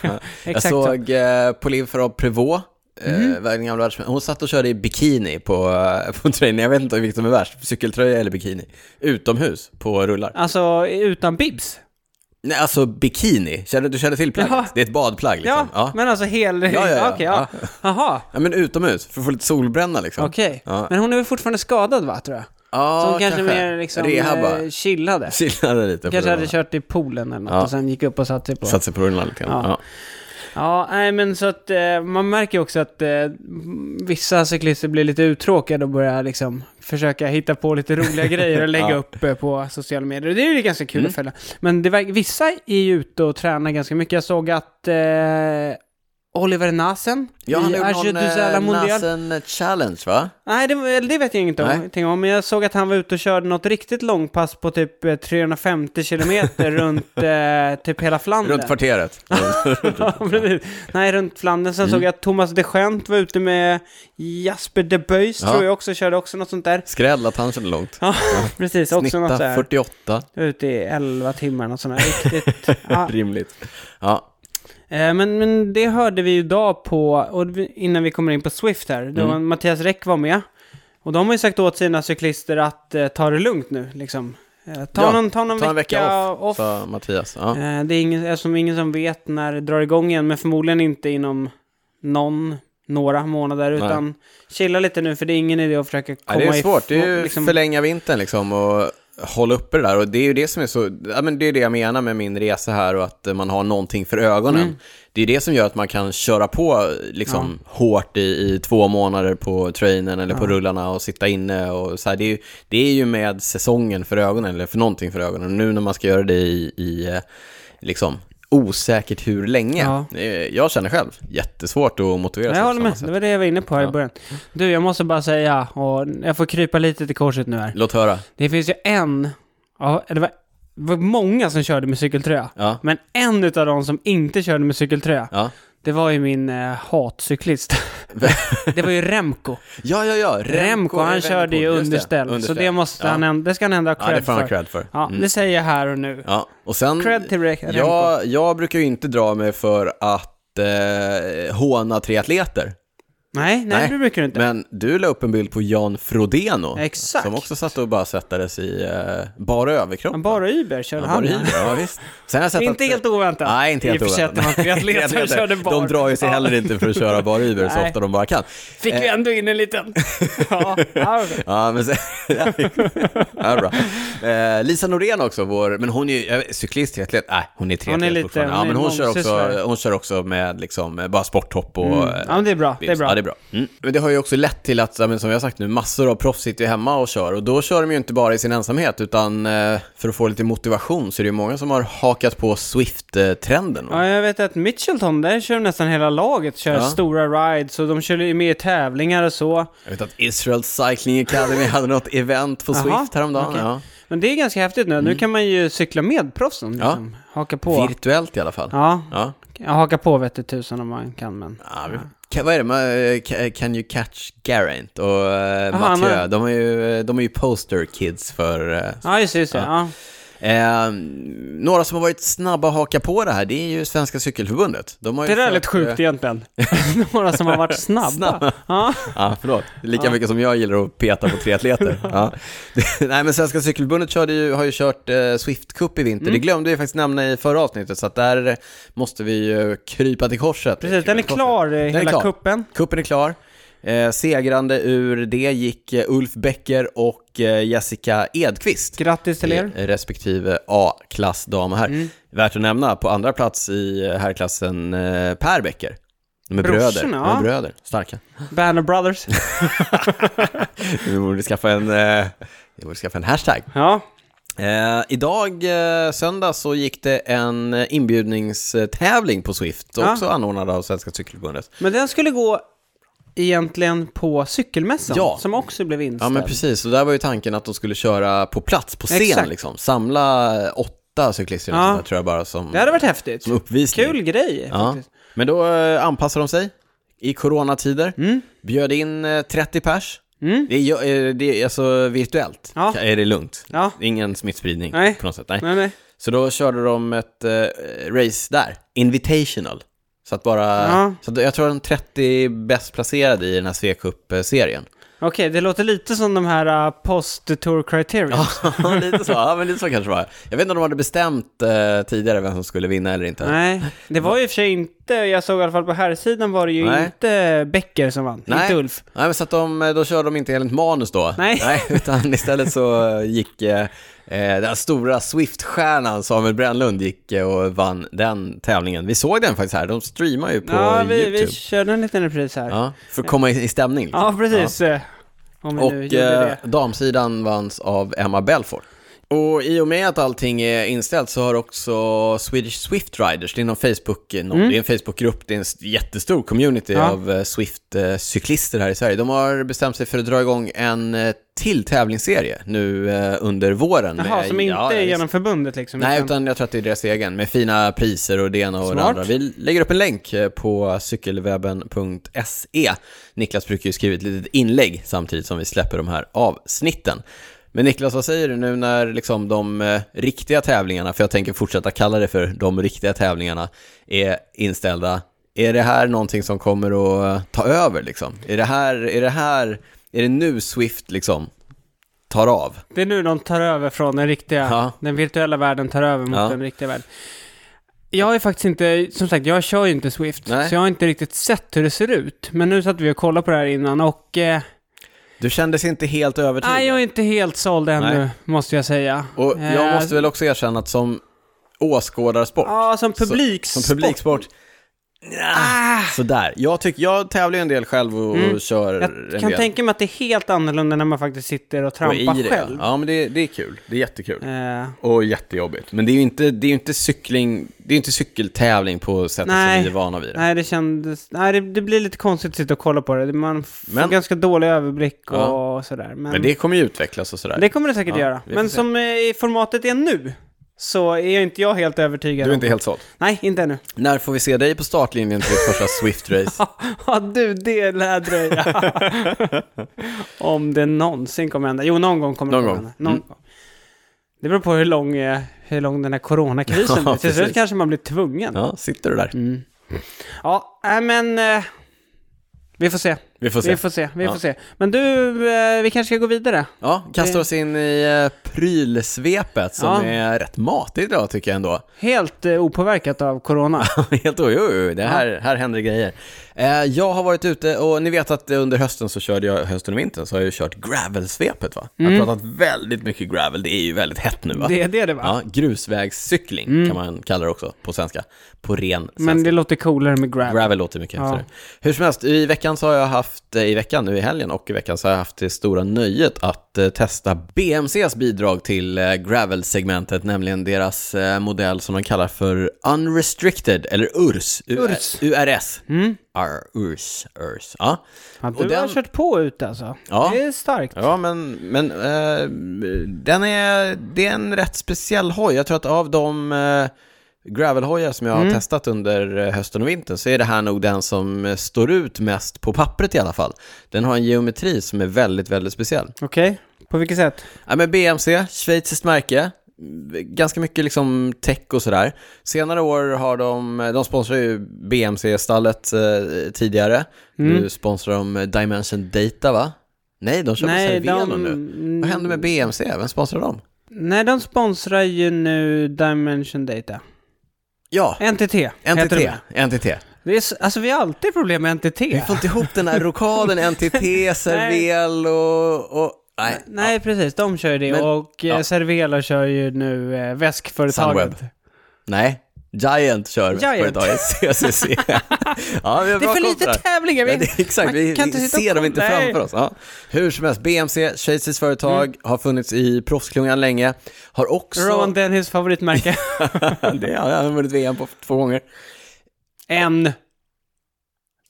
A: Jag
B: Exakt så. Mhm.
A: såg eh, Pauline Farah Prevot, eh, den gamla världsmästaren. Hon satt och körde i bikini på, eh, på träning. Jag vet inte vilket som är värst, cykeltröja eller bikini. Utomhus på rullar.
B: Alltså utan bibs.
A: Nej, alltså bikini. Känner, du känner till plagget?
B: Ja.
A: Det är ett badplagg liksom.
B: Ja,
A: Ja.
B: men alltså hel... Ja,
A: ja, ja.
B: Okej, ja. Jaha,
A: Ja, men utomhus, för att få lite solbränna liksom.
B: okej.
A: Ja.
B: Men hon är väl fortfarande skadad va, tror jag?
A: Ja,
B: Så hon kanske, mer liksom
A: Rehabba.
B: eh, chillade.
A: Chillade lite på
B: Kanske hade
A: rullarna.
B: kört i poolen eller något
A: Ja.
B: och sen gick upp och satte sig på.
A: Satt sig på rullarna lite grann.
B: Ja.
A: Ja.
B: Ja, nej men så att eh, man märker ju också att eh, vissa cyklister blir lite uttråkade och börjar liksom försöka hitta på lite roliga grejer och lägga
A: Ja. Mm.
B: upp eh, på sociala medier. Och det är ju ganska kul att följa. Men det verk- vissa är ju ute och tränar ganska mycket. Jag såg att eh, Oliver Nasen
A: Ja, han
B: i
A: gjorde
B: Arche
A: någon
B: du Zala
A: eh,
B: Mondial.
A: Nasen Challenge va?
B: Nej, det, var- eller det vet jag inget om,
A: Nej.
B: ingenting om. Men jag såg att han var ute och körde något riktigt långpass på typ eh, 350 kilometer runt eh, typ hela Flandern.
A: Runt kvarteret.
B: Ja,
A: Typ,
B: precis. Nej, runt Flandern.
A: Mm.
B: Sen såg jag att Thomas de Gent var ute med Jasper de Beus,
A: Ja.
B: tror jag också, körde också något sånt där.
A: Skräll att han körde långt.
B: Ja, precis. Också något
A: Snitta
B: där.
A: 48.
B: Ute i 11 timmar, något sånt där. Riktigt. Ja.
A: Rimligt. Ah. Ja,
B: Eh, Men, men det hörde vi ju idag på, och vi- innan vi kommer in på Swift här, då
A: Mm.
B: Mattias Räck var med. Och de har ju sagt åt sina cyklister att eh, ta det lugnt nu, liksom. Eh, ta,
A: Ja,
B: någon, ta någon
A: ta en vecka
B: off.
A: sa Mattias. Ja.
B: Eh, Det är ingen, eftersom ingen som vet när det drar igång igen, men förmodligen inte inom någon, några månader, utan chilla lite nu för det är ingen idé att försöka komma
A: Nej, det är svårt, det är ju
B: liksom-
A: förlänga vintern liksom och hålla uppe det där. Och det är ju det som är så, ja, men det är det jag menar med min resa här och att eh, man har någonting för ögonen.
B: Mm.
A: Det är det som gör att man kan köra på liksom hårt i, i två månader på trainen eller på rullarna och sitta inne och så här. Det är, ju, det är ju med säsongen för ögonen eller för någonting för ögonen. Nu när man ska göra det i, i eh, liksom osäkert hur länge.
B: Ja.
A: Eh, Jag känner själv, jättesvårt att motivera
B: Nej,
A: sig på
B: jag håller
A: samma
B: med,
A: sätt.
B: det var det jag var inne på här i
A: Ja.
B: början. Du, jag måste bara säga, och jag får krypa lite till korset nu här.
A: Låt höra.
B: Det finns ju en, ja, det var, det var många som körde med cykeltröja.
A: Ja.
B: Men en utav de som inte körde med cykeltröja,
A: Ja.
B: det var ju min eh, hatcyklist. det var ju Remco.
A: Ja, ja, ja.
B: Remco, han
A: Evenepoel.
B: körde ju
A: Just
B: underställ, så det, måste
A: ja.
B: han, änd- det ska han ändå ha
A: Ja, det
B: cred
A: får han ha
B: för.
A: cred för.
B: Ja, det säger jag här och nu.
A: Ja, och sen...
B: Cred till Re- Remco.
A: jag, jag brukar ju inte dra mig för att eh, håna triatleter.
B: Nej, nej,
A: Nej,
B: det brukar du inte.
A: Men du la upp en bild på Jan Frodeno.
B: Exakt.
A: Som också satt och bara sättades i eh, bara överkropp.
B: Men bara Uber körde
A: Han
B: han.
A: var
B: ja.
A: i- ja, visst. Sen har jag sett
B: Inte
A: att,
B: helt oväntat.
A: Nej, inte helt
B: I och för sig
A: oväntat.
B: att de var triatleter
A: Triatleter,
B: och körde bar.
A: De drar ju sig
B: Ja.
A: heller inte för att köra bara Uber så
B: Nej.
A: ofta de bara kan.
B: Fick vi ändå in en liten... ja, ja,
A: Ja, men sen... ja, bra. Eh, Lisa Norén också, vår, men hon är ju eh, cyklist, triatlet. Nej, hon är triatlet
B: Hon är lite-
A: fortfarande. Ja,
B: hon är
A: men hon kör, också,
B: mångsysslare.
A: hon kör också med liksom, eh, bara sporthopp och... eh,
B: ja, men det är bra. Det är
A: Ja, det är
B: bra.
A: bra. Mm. Men det har ju också lett till att, ja, men som jag har sagt nu, massor av proffs sitter ju hemma och kör. Och då kör de ju inte bara i sin ensamhet, utan eh, för att få lite motivation så är det ju många som har hakat på Swift-trenden. va?
B: Ja, jag vet att Mitchelton, där kör nästan hela laget, kör
A: Ja.
B: stora rides och de kör ju med i tävlingar och så.
A: Jag vet att Israel Cycling Academy hade något event på
B: Jaha,
A: Swift häromdagen.
B: okej.
A: Ja.
B: Men det är ganska häftigt nu,
A: Mm.
B: nu kan man ju cykla med proffsen liksom. Haka på.
A: Virtuellt i alla fall.
B: Ja,
A: Ja.
B: jag hakar på vette tusan om man kan men.
A: Ja, vi- Ka- vad är det? Man, eh, ka- Can you catch Garant och uh,
B: Aha,
A: Mathieu?
B: men-
A: De är ju, eh, de är ju poster kids för... eh,
B: Ja, just det, just det. Ja.
A: Eh, några som har varit snabba att haka på det här, det är ju Svenska Cykelförbundet. De har
B: Det
A: ju
B: där är
A: försökt,
B: lite
A: eh,
B: sjukt egentligen. Några som har varit snabba.
A: Snabba.
B: Ja.
A: Ja, förlåt. Lika mycket som jag gillar att peta på triatleter. ja. Nej, men Svenska Cykelförbundet körde ju, har ju kört eh, Swift Cup i vinter.
B: Mm.
A: Det glömde vi faktiskt nämna i förra avsnittet, så att där eh, måste vi ju krypa till korset.
B: Precis, den är klar, eh,
A: är
B: hela
A: klar.
B: kuppen.
A: Kuppen är klar. Eh, segrande ur det gick eh, Ulf Becker och eh, Jessica Edqvist.
B: Grattis till er. Mm.
A: Eh, Respektive A-klass dam här. Värt att nämna, på andra plats i eh, herrklassen eh, Per Becker. De är bröder. De
B: Brorsorna,
A: är
B: ja.
A: bröder. Starka.
B: Banner Brothers.
A: Vi borde skaffa en, eh, vi borde skaffa en hashtag.
B: Ja,
A: Eh, idag, eh, söndag, så gick det en eh, inbjudningstävling på Swift,
B: Ja.
A: också anordnad av Svenska Cykelförbundet.
B: men den skulle gå egentligen på cykelmässan,
A: Ja.
B: som också blev
A: Ja,
B: inställd.
A: men precis. Och där var ju tanken att de skulle köra på plats, på scen
B: Exakt.
A: liksom. Samla eh, åtta cyklister, eller
B: Ja.
A: sånt där, tror jag bara, som,
B: Det hade varit häftigt.
A: som uppvisning.
B: Kul grej
A: Ja.
B: faktiskt.
A: Men då eh, anpassade de sig i coronatider,
B: Mm.
A: bjöd in eh, 30 pers. Det, är, ju- eh, det är alltså virtuellt,
B: Ja.
A: är det lugnt.
B: Ja.
A: Ingen smittspridning
B: Nej.
A: på något sätt. Nej.
B: Nej, nej.
A: Så då körde de ett eh, race där, Invitational. Så att bara,
B: Ja.
A: så att jag tror de 30 bäst placerade i den här C-cup-serien.
B: Okej, det låter lite som de här uh, post-tour criteria.
A: Ja, lite så. Ja, men lite så kanske det var. Jag vet inte om de hade bestämt eh, tidigare vem som skulle vinna eller inte.
B: Nej, det var ju i och för sig inte, jag såg i alla fall på här sidan var det ju
A: Nej.
B: inte Becker som vann,
A: Nej.
B: inte Ulf.
A: Nej, men så att de, eh, då körde de inte enligt manus då.
B: Nej.
A: utan istället så eh, gick eh, eh, den här stora Swift-stjärnan Samuel Brännlund gick eh, och vann den tävlingen. Vi såg den faktiskt här, de streamar ju på
B: ja, vi,
A: YouTube.
B: vi körde en liten repris här. Ja,
A: Ja, för att komma i, i stämning. liksom.
B: precis. eh, Om vi nu
A: Och
B: gjorde
A: eh,
B: det.
A: damsidan vanns av Emma Belfort. Och i och med att allting är inställt så har också Swedish Swift Riders, det är, någon Facebook, eh, någon, det är en Facebookgrupp, det är en s- jättestor community
B: Mm. Ja.
A: av eh, Swift-cyklister här i Sverige. De har bestämt sig för att dra igång en eh, till tävlingsserie nu eh, under våren.
B: Jaha,
A: med-
B: som inte
A: ja,
B: är
A: visst.
B: genom förbundet liksom.
A: Nej, utan jag tror att det är deras egen, med fina priser och det ena och det
B: Smart.
A: andra. Vi lägger upp en länk eh, på cykelwebben.se. Niklas brukar ju skriva ett litet inlägg samtidigt som vi släpper de här avsnitten. Men Niklas, vad säger du nu när liksom de eh, riktiga tävlingarna, för jag tänker fortsätta kalla det för de riktiga tävlingarna, är inställda? Är det här någonting som kommer att eh, ta över liksom? Är det här, är det här, är det nu Swift liksom tar av?
B: Det är nu de tar över från den riktiga,
A: Ja.
B: den virtuella världen tar över mot
A: Ja.
B: den riktiga världen. Jag har ju faktiskt inte, som sagt, jag kör ju inte Swift,
A: Nej.
B: så jag har inte riktigt sett hur det ser ut. Men nu satt vi och kollade på det här innan och... Eh,
A: Du kändes inte helt övertygad?
B: nej, jag är inte helt såld ännu,
A: Nej.
B: måste jag säga.
A: Och jag
B: Eh,
A: måste väl också erkänna att som åskådarsport,
B: Ja, som
A: Så-
B: publiksport.
A: som publiksport,
B: Ah, Mm.
A: sådär. Jag, tycker, jag tävlar ju en del själv och, och kör en
B: jag kan
A: del.
B: tänka mig att det är helt annorlunda när man faktiskt sitter och
A: och i
B: trampar
A: det.
B: själv.
A: Ja, men det, det är kul. Det är jättekul.
B: Eh,
A: Och jättejobbigt. Men det är ju inte, det är ju inte cykling, det är ju inte cykeltävling på sättet
B: Nej.
A: som vi är vana vid.
B: nej, det kändes... Nej, det, det blir lite konstigt att sitta och kolla på det. Man får
A: Men-
B: ganska dålig överblick och,
A: Ja.
B: sådär.
A: Men det kommer ju utvecklas och sådär.
B: Det kommer det säkert
A: Ja,
B: göra.
A: vi får
B: Men
A: se.
B: som eh, formatet är nu så är jag inte jag helt övertygad.
A: Du är
B: om-
A: inte helt såld.
B: Nej, inte ännu.
A: När får vi se dig på startlinjen till ditt första Swift-race?
B: Ja, du, det lär dröja. om det någonsin kommer hända. Jo, någon gång kommer
A: Någon
B: det
A: gång. Mm.
B: hända. Någon gång. Det beror på hur lång, eh, hur lång den här coronakrisen
A: Ja,
B: blir. Till
A: precis.
B: slut kanske man blir tvungen.
A: Ja, sitter du där?
B: Ja, nej men... eh, Vi får se.
A: Vi får se.
B: Vi får se. Vi
A: Ja.
B: får se. Men du, eh, vi kanske ska gå vidare.
A: Ja, kastar oss in i eh, prylsvepet som
B: Ja.
A: är rätt matigt idag tycker jag ändå.
B: Helt eh, opåverkat av corona.
A: Helt oj, oj, oj, det här, här händer grejer. Eh, jag har varit ute och ni vet att under hösten så körde jag, hösten och vintern, så har jag ju kört gravelsvepet va? Jag har pratat väldigt mycket gravel, det är ju väldigt hett nu va?
B: Mm. Det är det det va?
A: Ja, grusvägscykling kan man kalla det också på svenska, på ren svenska.
B: Men det låter coolare med grab.
A: Gravel låter mycket häftigare. Hur som helst, i veckan så har jag haft, eh, i veckan nu i helgen och i veckan så har jag haft det stora nöjet att eh, testa BMCs bidrag till eh, Gravel-segmentet, nämligen deras eh, modell som de kallar för Unrestricted, eller URS. U-
B: URS.
A: URS. R, URS, URS. Ja.
B: Mm. Ja, du
A: Och den-
B: har kört på ut alltså.
A: Ja.
B: Det är starkt.
A: Ja, men, men eh, den är, det är en rätt speciell hoj. Jag tror att av de eh, gravelhojar som jag har
B: Mm.
A: testat under eh, hösten och vintern så är det här nog den som eh, står ut mest på pappret i alla fall. Den har en geometri som är väldigt, väldigt speciell.
B: Okej, på vilket sätt?
A: Ja, men BMC, schweiziskt märke. Ganska mycket liksom tech och sådär. Senare år har de, eh, de sponsrar ju BMC-stallet eh, tidigare.
B: Mm.
A: Nu sponsrar de eh, Dimension Data va? Nej, de köper
B: Nej,
A: Cerveno
B: de-
A: nu. Vad hände med BMC? Vem sponsrar dem?
B: Nej, de sponsrar ju nu Dimension Data.
A: Ja,
B: NTT heter
A: NTT.
B: de.
A: NTT.
B: det är, s- Alltså vi har alltid problem med NTT.
A: Vi får inte ihop den här rokaden NTT, Cervel och... och nej,
B: Nej, precis. De kör ju det.
A: Men-
B: och eh,
A: ja.
B: Cervelo kör ju nu eh, väskföretaget.
A: Sunweb. nej. Giant kör
B: Giant.
A: företaget CCC. ja, vi har
B: Det är
A: bra
B: för lite
A: kontrar.
B: tävlingar.
A: Ja,
B: Vi...
A: det, exakt,
B: man
A: vi,
B: kan
A: vi
B: inte sitta och
A: ser dem inte
B: kolla. Nej.
A: framför oss. Ja. Hur som helst, BMC, schweiziskt företag, har funnits i proffsklungan länge, har också...
B: Rowan Dennis favoritmärke.
A: det, ja, han har vunnit VM på två gånger.
B: en.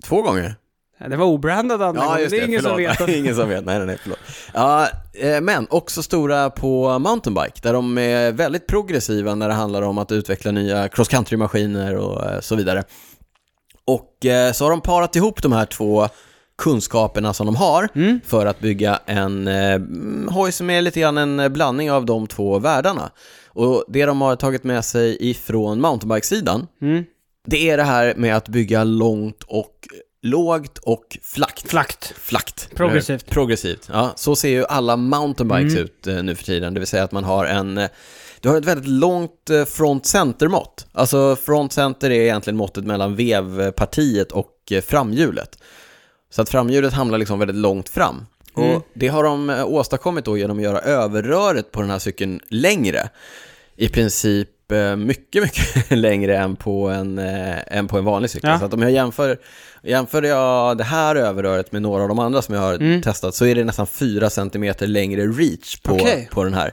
A: Två gånger?
B: Ja, Det var obrandad andra
A: Ja,
B: gången.
A: just
B: det
A: det.
B: är ingen som
A: förlåt.
B: vet.
A: Det är ingen som vet. Nej, nej, nej, förlåt. Ja, eh, men också stora på mountainbike, där de är väldigt progressiva när det handlar om att utveckla nya cross country-maskiner och eh, så vidare. Och eh, så har de parat ihop de här två kunskaperna som de har
B: Mm.
A: för att bygga en eh, mm, hoj som är lite grann en blandning av de två världarna. Och det de har tagit med sig ifrån mountainbike-sidan,
B: Mm.
A: det är det här med att bygga långt och lågt och flackt.
B: Flakt.
A: Flackt.
B: Progressivt.
A: Eh, Progressivt, ja. Så ser ju alla mountainbikes ut eh, nu för tiden. Det vill säga att man har en... eh, Du har ett väldigt långt eh, front center-mått. Alltså front center är egentligen måttet mellan vevpartiet och eh, framhjulet. Så att framhjulet hamnar liksom väldigt långt fram.
B: Mm.
A: Och det har de eh, åstadkommit då genom att göra överröret på den här cykeln längre. I princip eh, mycket, mycket längre än på en, eh, än på en vanlig cykel.
B: Ja.
A: Så att om jag jämför, jämför jag det här överröret med några av de andra som jag har
B: Mm.
A: testat så är det nästan 4 cm längre reach på,
B: Okej.
A: på den här.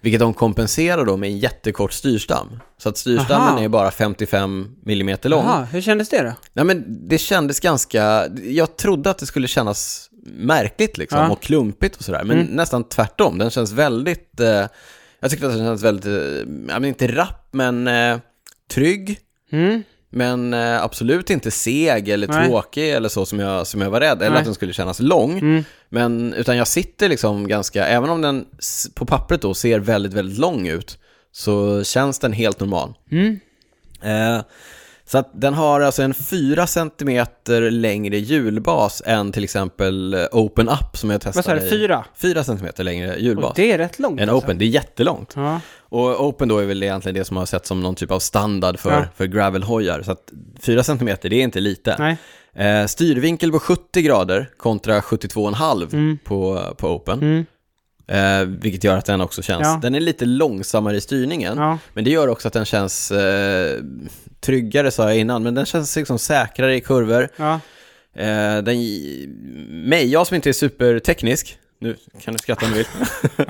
A: Vilket de kompenserar då med en jättekort styrstam. Så att styrstammen
B: Aha.
A: är bara 55 mm lång.
B: Jaha, hur kändes det då?
A: Nej, men det kändes ganska, jag trodde att det skulle kännas märkligt liksom
B: Ja. Mm.
A: och klumpigt och sådär, men nästan tvärtom. Den känns väldigt, eh, jag tyckte att den kändes väldigt, eh, ja, men inte rapp men eh, trygg,
B: Mm.
A: men eh, absolut inte seg eller
B: Nej.
A: tråkig eller så som jag, som jag var rädd, eller
B: Nej.
A: att den skulle kännas lång.
B: Mm.
A: Men, utan jag sitter liksom ganska, även om den s- på pappret då ser väldigt, väldigt lång ut, så känns den helt normal.
B: Mm.
A: Eh, Så att den har alltså en 4 cm längre hjulbas än till exempel eh, Open Up som jag testade.
B: Vad sa du?
A: i-
B: Fyra?
A: 4 cm längre hjulbas.
B: Och det är rätt långt.
A: En
B: alltså.
A: Open, det är jättelångt.
B: Ja.
A: Och Open då är väl egentligen det som har sett som någon typ av standard för,
B: Ja.
A: för gravelhojar. Så att 4 cm, det är inte lite.
B: Nej.
A: Eh, styrvinkel på 70 grader kontra 72,5 på, på Open.
B: Mm.
A: Eh, vilket gör att den också känns,
B: Ja.
A: den är lite långsammare i styrningen.
B: Ja.
A: Men det gör också att den känns eh, tryggare sa jag innan, men den känns liksom säkrare i kurvor.
B: Ja.
A: Eh, den, gi- mig, jag som inte är superteknisk, nu kan du skratta om du vill.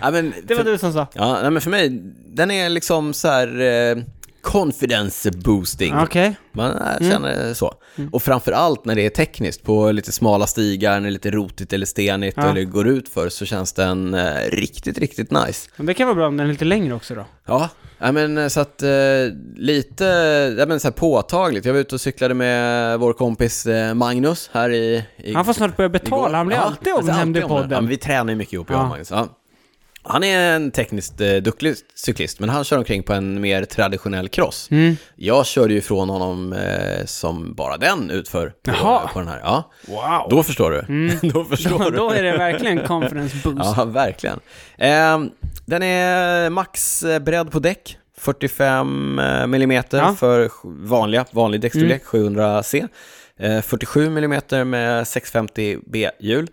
A: ja, men,
B: Det var
A: för,
B: du som sa.
A: ja, nej, men för mig, den är liksom så här eh, confidence boosting.
B: Okej.
A: Man äh,
B: Mm.
A: känner så. Och framför allt när det är tekniskt, på lite smala stigar, när det är lite rotigt eller stenigt
B: Ja.
A: eller går ut för så känns den eh, riktigt, riktigt nice.
B: Men det kan vara bra om den är lite längre också då.
A: Ja, ja men eh, så att eh, lite ja, men, så här påtagligt. Jag var ute och cyklade med vår kompis eh, Magnus här i... i
B: Han får snart börja betala,
A: igår.
B: han blir
A: Ja,
B: alltid
A: alltså,
B: omnämnd i
A: omnämnd. Ja, men
B: podden.
A: vi tränar ju mycket ihop, jag
B: Ja.
A: och Magnus. Ja. Han är en tekniskt eh, duktig cyklist, men han kör omkring på en mer traditionell cross.
B: Mm.
A: Jag körde ju ifrån honom eh, som bara den utför på,
B: Jaha. Mm.
A: på den här. Ja.
B: Wow!
A: Då förstår du. Då förstår du.
B: Då är det verkligen conference boost.
A: Ja, verkligen. Ehm, den är max eh, bredd på däck, 45 mm
B: Ja.
A: för sj- vanliga, vanlig däckstorlek, 700C. Eh, 47 mm med 650 B-hjul.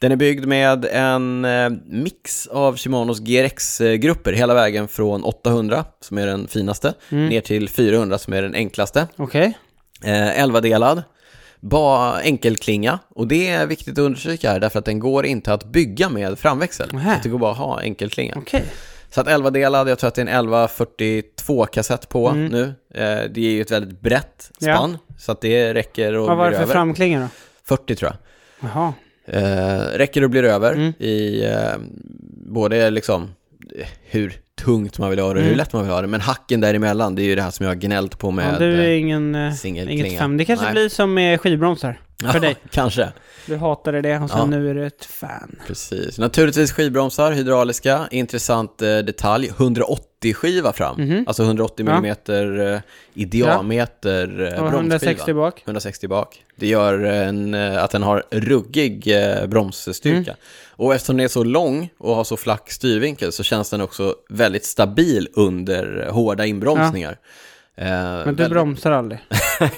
A: Den är byggd med en eh, mix av Shimanos GRX-grupper hela vägen från 800, som är den finaste, ner till 400 som är den enklaste.
B: Okej.
A: Eh, 11-delad, bara enkelklinga. Och det är viktigt att understryka här, därför att den går inte att bygga med framväxel.
B: Nähä.
A: Så att det går bara att ha enkelklinga.
B: Okej.
A: Så att 11-delad, jag tror att det är en 1142-kassett på nu. Eh, det är ju ett väldigt brett
B: Mm. Ja.
A: spann, så att det räcker och
B: Vad var det
A: blir
B: för
A: över.
B: framklinga då?
A: 40 tror jag.
B: Jaha.
A: Eh, räcker och blir över
B: Mm.
A: i eh, både liksom eh, hur tungt man vill ha det och hur lätt man vill ha det. Men hacken däremellan, det är ju det här som jag har gnällt på med...
B: Mm. Ja, du är
A: eh,
B: ingen, eh,
A: singelklinga.
B: inget fan. Det kanske
A: Nej.
B: blir som med skivbromsar. För dig.
A: Kanske.
B: Du hatade det och sen
A: Ja.
B: nu är du ett fan.
A: Precis. Naturligtvis skivbromsar, hydrauliska. Intressant eh, detalj, 180-skiva fram. Alltså 180
B: Mhm. Ja.
A: millimeter eh, i diameter eh,
B: Och
A: bromsskiva.
B: 160 bak.
A: 160 bak. Det gör en, eh, att den har ruggig eh,
B: Mm.
A: bromsstyrka. Och eftersom den är så lång och har så flack styrvinkel så känns den också väldigt stabil under eh, hårda inbromsningar. Eh,
B: Men du bromsar aldrig.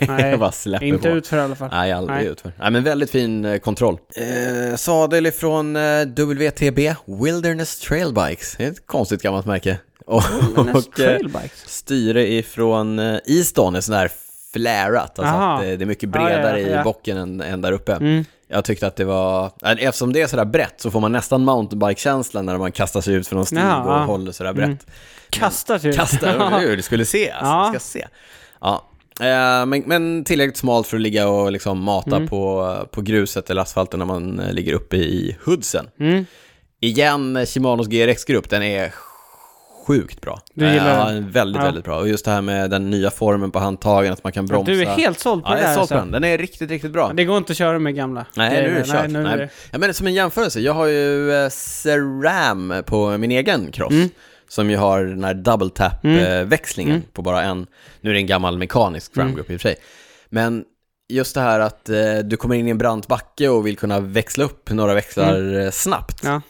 B: Nej,
A: Jag bara släpper
B: inte
A: på.
B: utför i alla fall.
A: Nej, aldrig
B: Nej.
A: utför. Nej, men väldigt fin eh, kontroll. Eh, sadel ifrån eh, WTB, Wilderness Trail Bikes. Det är ett konstigt gammalt märke. Och,
B: Näst
A: och eh,
B: trailbikes.
A: styre ifrån eh, Easton, är sån där flärat. Alltså
B: Aha.
A: att, eh, det är mycket bredare
B: Ja, ja, Mm. ja.
A: i bocken än, än där uppe. Jag tyckte att det var, eh, eftersom det är sådär brett så får man nästan mountainbike-känslan när man kastar sig ut från en stig
B: Ja,
A: och
B: ja. Mm.
A: håller sådär brett
B: Kastar sig ut.
A: kastar under hur du skulle se. Alltså,
B: Ja.
A: du ska se. Ja. Eh, Men, men tillräckligt smalt för att ligga och liksom mata
B: Mm.
A: på, på gruset eller asfalten när man eh, ligger uppe i hoodsen.
B: Mm.
A: Igen, eh, Shimanos GRX-grupp, den är sjukt bra.
B: Du gillar
A: Eh, ja,
B: den?
A: Väldigt,
B: Ja.
A: väldigt bra. Och just det här med den nya formen på handtagen, att man kan bromsa.
B: Du är helt såld på
A: ja,
B: det
A: jag är
B: där,
A: såld på
B: alltså.
A: den. Den är riktigt, riktigt bra.
B: Det går inte att köra med gamla.
A: Nej, nu är det kört.
B: nu är
A: Nej.
B: det-
A: Ja, men som en jämförelse, jag har ju eh, Ceram på min egen cross.
B: Mm.
A: Som ju har den här double tap-växlingen på bara en. Nu är det en gammal mekanisk
B: Mm.
A: framgrupp i och för sig. Men just det här att eh, du kommer in i en brant backe och vill kunna växla upp några växlar
B: Mm.
A: eh, snabbt.
B: Ja.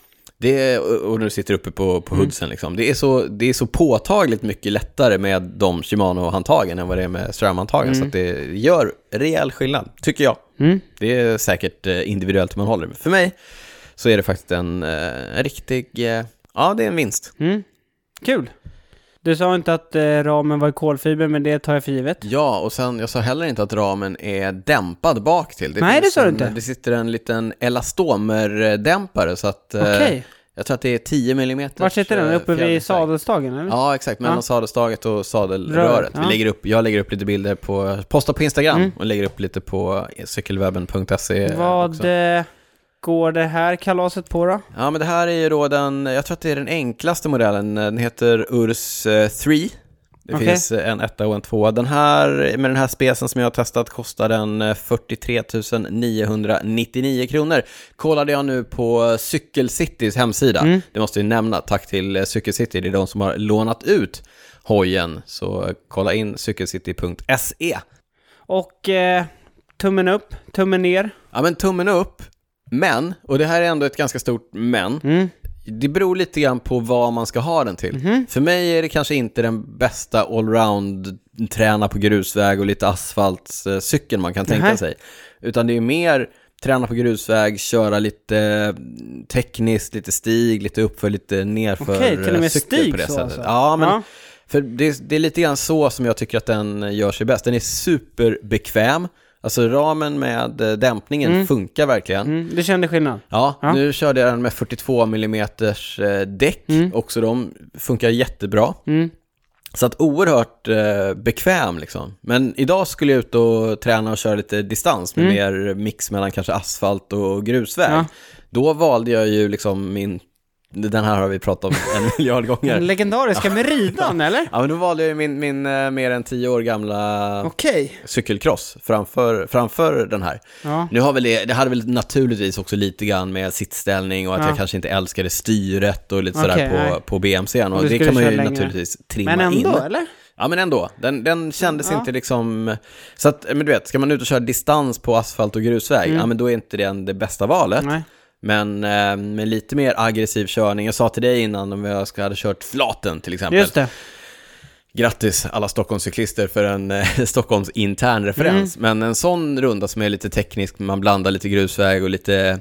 A: Det, och och när du sitter uppe på,
B: Mm.
A: på hoodsen, liksom. det, är så, det är så påtagligt mycket lättare med de Shimano-handtagen än vad det är med SRAM-handtagen. Så att det gör rejäl skillnad, tycker jag.
B: Mm.
A: Det är säkert eh, individuellt hur man håller. Men för mig så är det faktiskt en, eh, en riktig... eh, Ja, det är en vinst.
B: Mm. Kul. Du sa inte att eh, ramen var i kolfiber, men det tar jag för givet.
A: Ja, och sen jag sa heller inte att ramen är dämpad bak till.
B: Nej,
A: finns
B: det sa du
A: en,
B: inte.
A: Det sitter en liten elastomer-dämpare så att... eh,
B: Okej.
A: Jag tror att det är 10 mm.
B: Var sitter den? Uppe vid sadelstagen, eller?
A: Ja, exakt. Mellan
B: Ja.
A: sadelstaget och
B: Röret,
A: sadelröret.
B: ja. Mm.
A: Vi lägger upp, jag lägger upp lite bilder på, postar på Instagram och lägger upp lite på eh, cykelwebben.se. också.
B: Vad eh, går det här kalaset på då?
A: Ja, men det här är ju då den, jag tror att det är den enklaste modellen. Den heter URS eh, 3. Det
B: Okej.
A: finns eh, en etta och en tvåa. Den här, med den här specen som jag har testat kostar den eh, 43 999 kronor. Kollade jag nu på eh, Cykelcitys hemsida. Det måste jag nämna, tack till eh, Cykelcity. Det är de som har lånat ut hojen. Så eh, kolla in cykelcity.se.
B: Och eh, tummen upp, tummen ner.
A: Ja, men tummen upp. Men, och det här är ändå ett ganska stort men, det beror lite grann på vad man ska ha den till.
B: Mhm.
A: För mig är det kanske inte den bästa allround träna på grusväg och lite asfaltcykeln man kan tänka
B: Nej.
A: sig. Utan det är mer träna på grusväg, köra lite eh, tekniskt, lite stig, lite uppför, lite nerför
B: Okej, till och
A: eh,
B: med
A: cykel
B: stig
A: på det
B: så
A: sättet.
B: alltså?
A: Ja, men
B: Ja.
A: för det, det är lite grann så som jag tycker att den gör sig bäst. Den är superbekväm. Alltså ramen med eh, dämpningen funkar verkligen.
B: Mm, du kände skillnad?
A: Ja,
B: Ja.
A: nu körde jag den med 42 mm däck. Också de funkar jättebra.
B: Mm.
A: Så att oerhört eh, bekväm liksom. Men idag skulle jag ut och träna och köra lite distans med mer mix mellan kanske asfalt och grusväg.
B: Mm. Ja.
A: Då valde jag ju liksom min Den här har vi pratat om en miljard
B: Den
A: gånger.
B: legendariska Meridan, eller?
A: Ja, men då valde jag ju min, min eh, mer än tio år gamla
B: Okej.
A: cykelcross framför, framför den här.
B: Ja.
A: Nu har väl det, det hade väl naturligtvis också lite grann med sittställning och att
B: Ja.
A: jag kanske inte älskade styret och lite sådär
B: Okej, nej.
A: på, på BMC'n.
B: Och
A: Och
B: du
A: det
B: skulle
A: kan man ju
B: köra längre.
A: naturligtvis trimma
B: Men ändå,
A: in.
B: eller?
A: Ja, men ändå. Den, den kändes
B: Ja.
A: inte liksom... Så att, men du vet, ska man ut och köra distans på asfalt och grusväg,
B: Mm.
A: ja men då är inte den det bästa valet.
B: Nej.
A: Men eh, med lite mer aggressiv körning. Jag sa till dig innan om jag ska hade kört flaten till exempel.
B: Just det.
A: Grattis alla Stockholmscyklister för en eh, Stockholms intern referens.
B: Mm.
A: Men en sån runda som är lite teknisk, man blandar lite grusväg och lite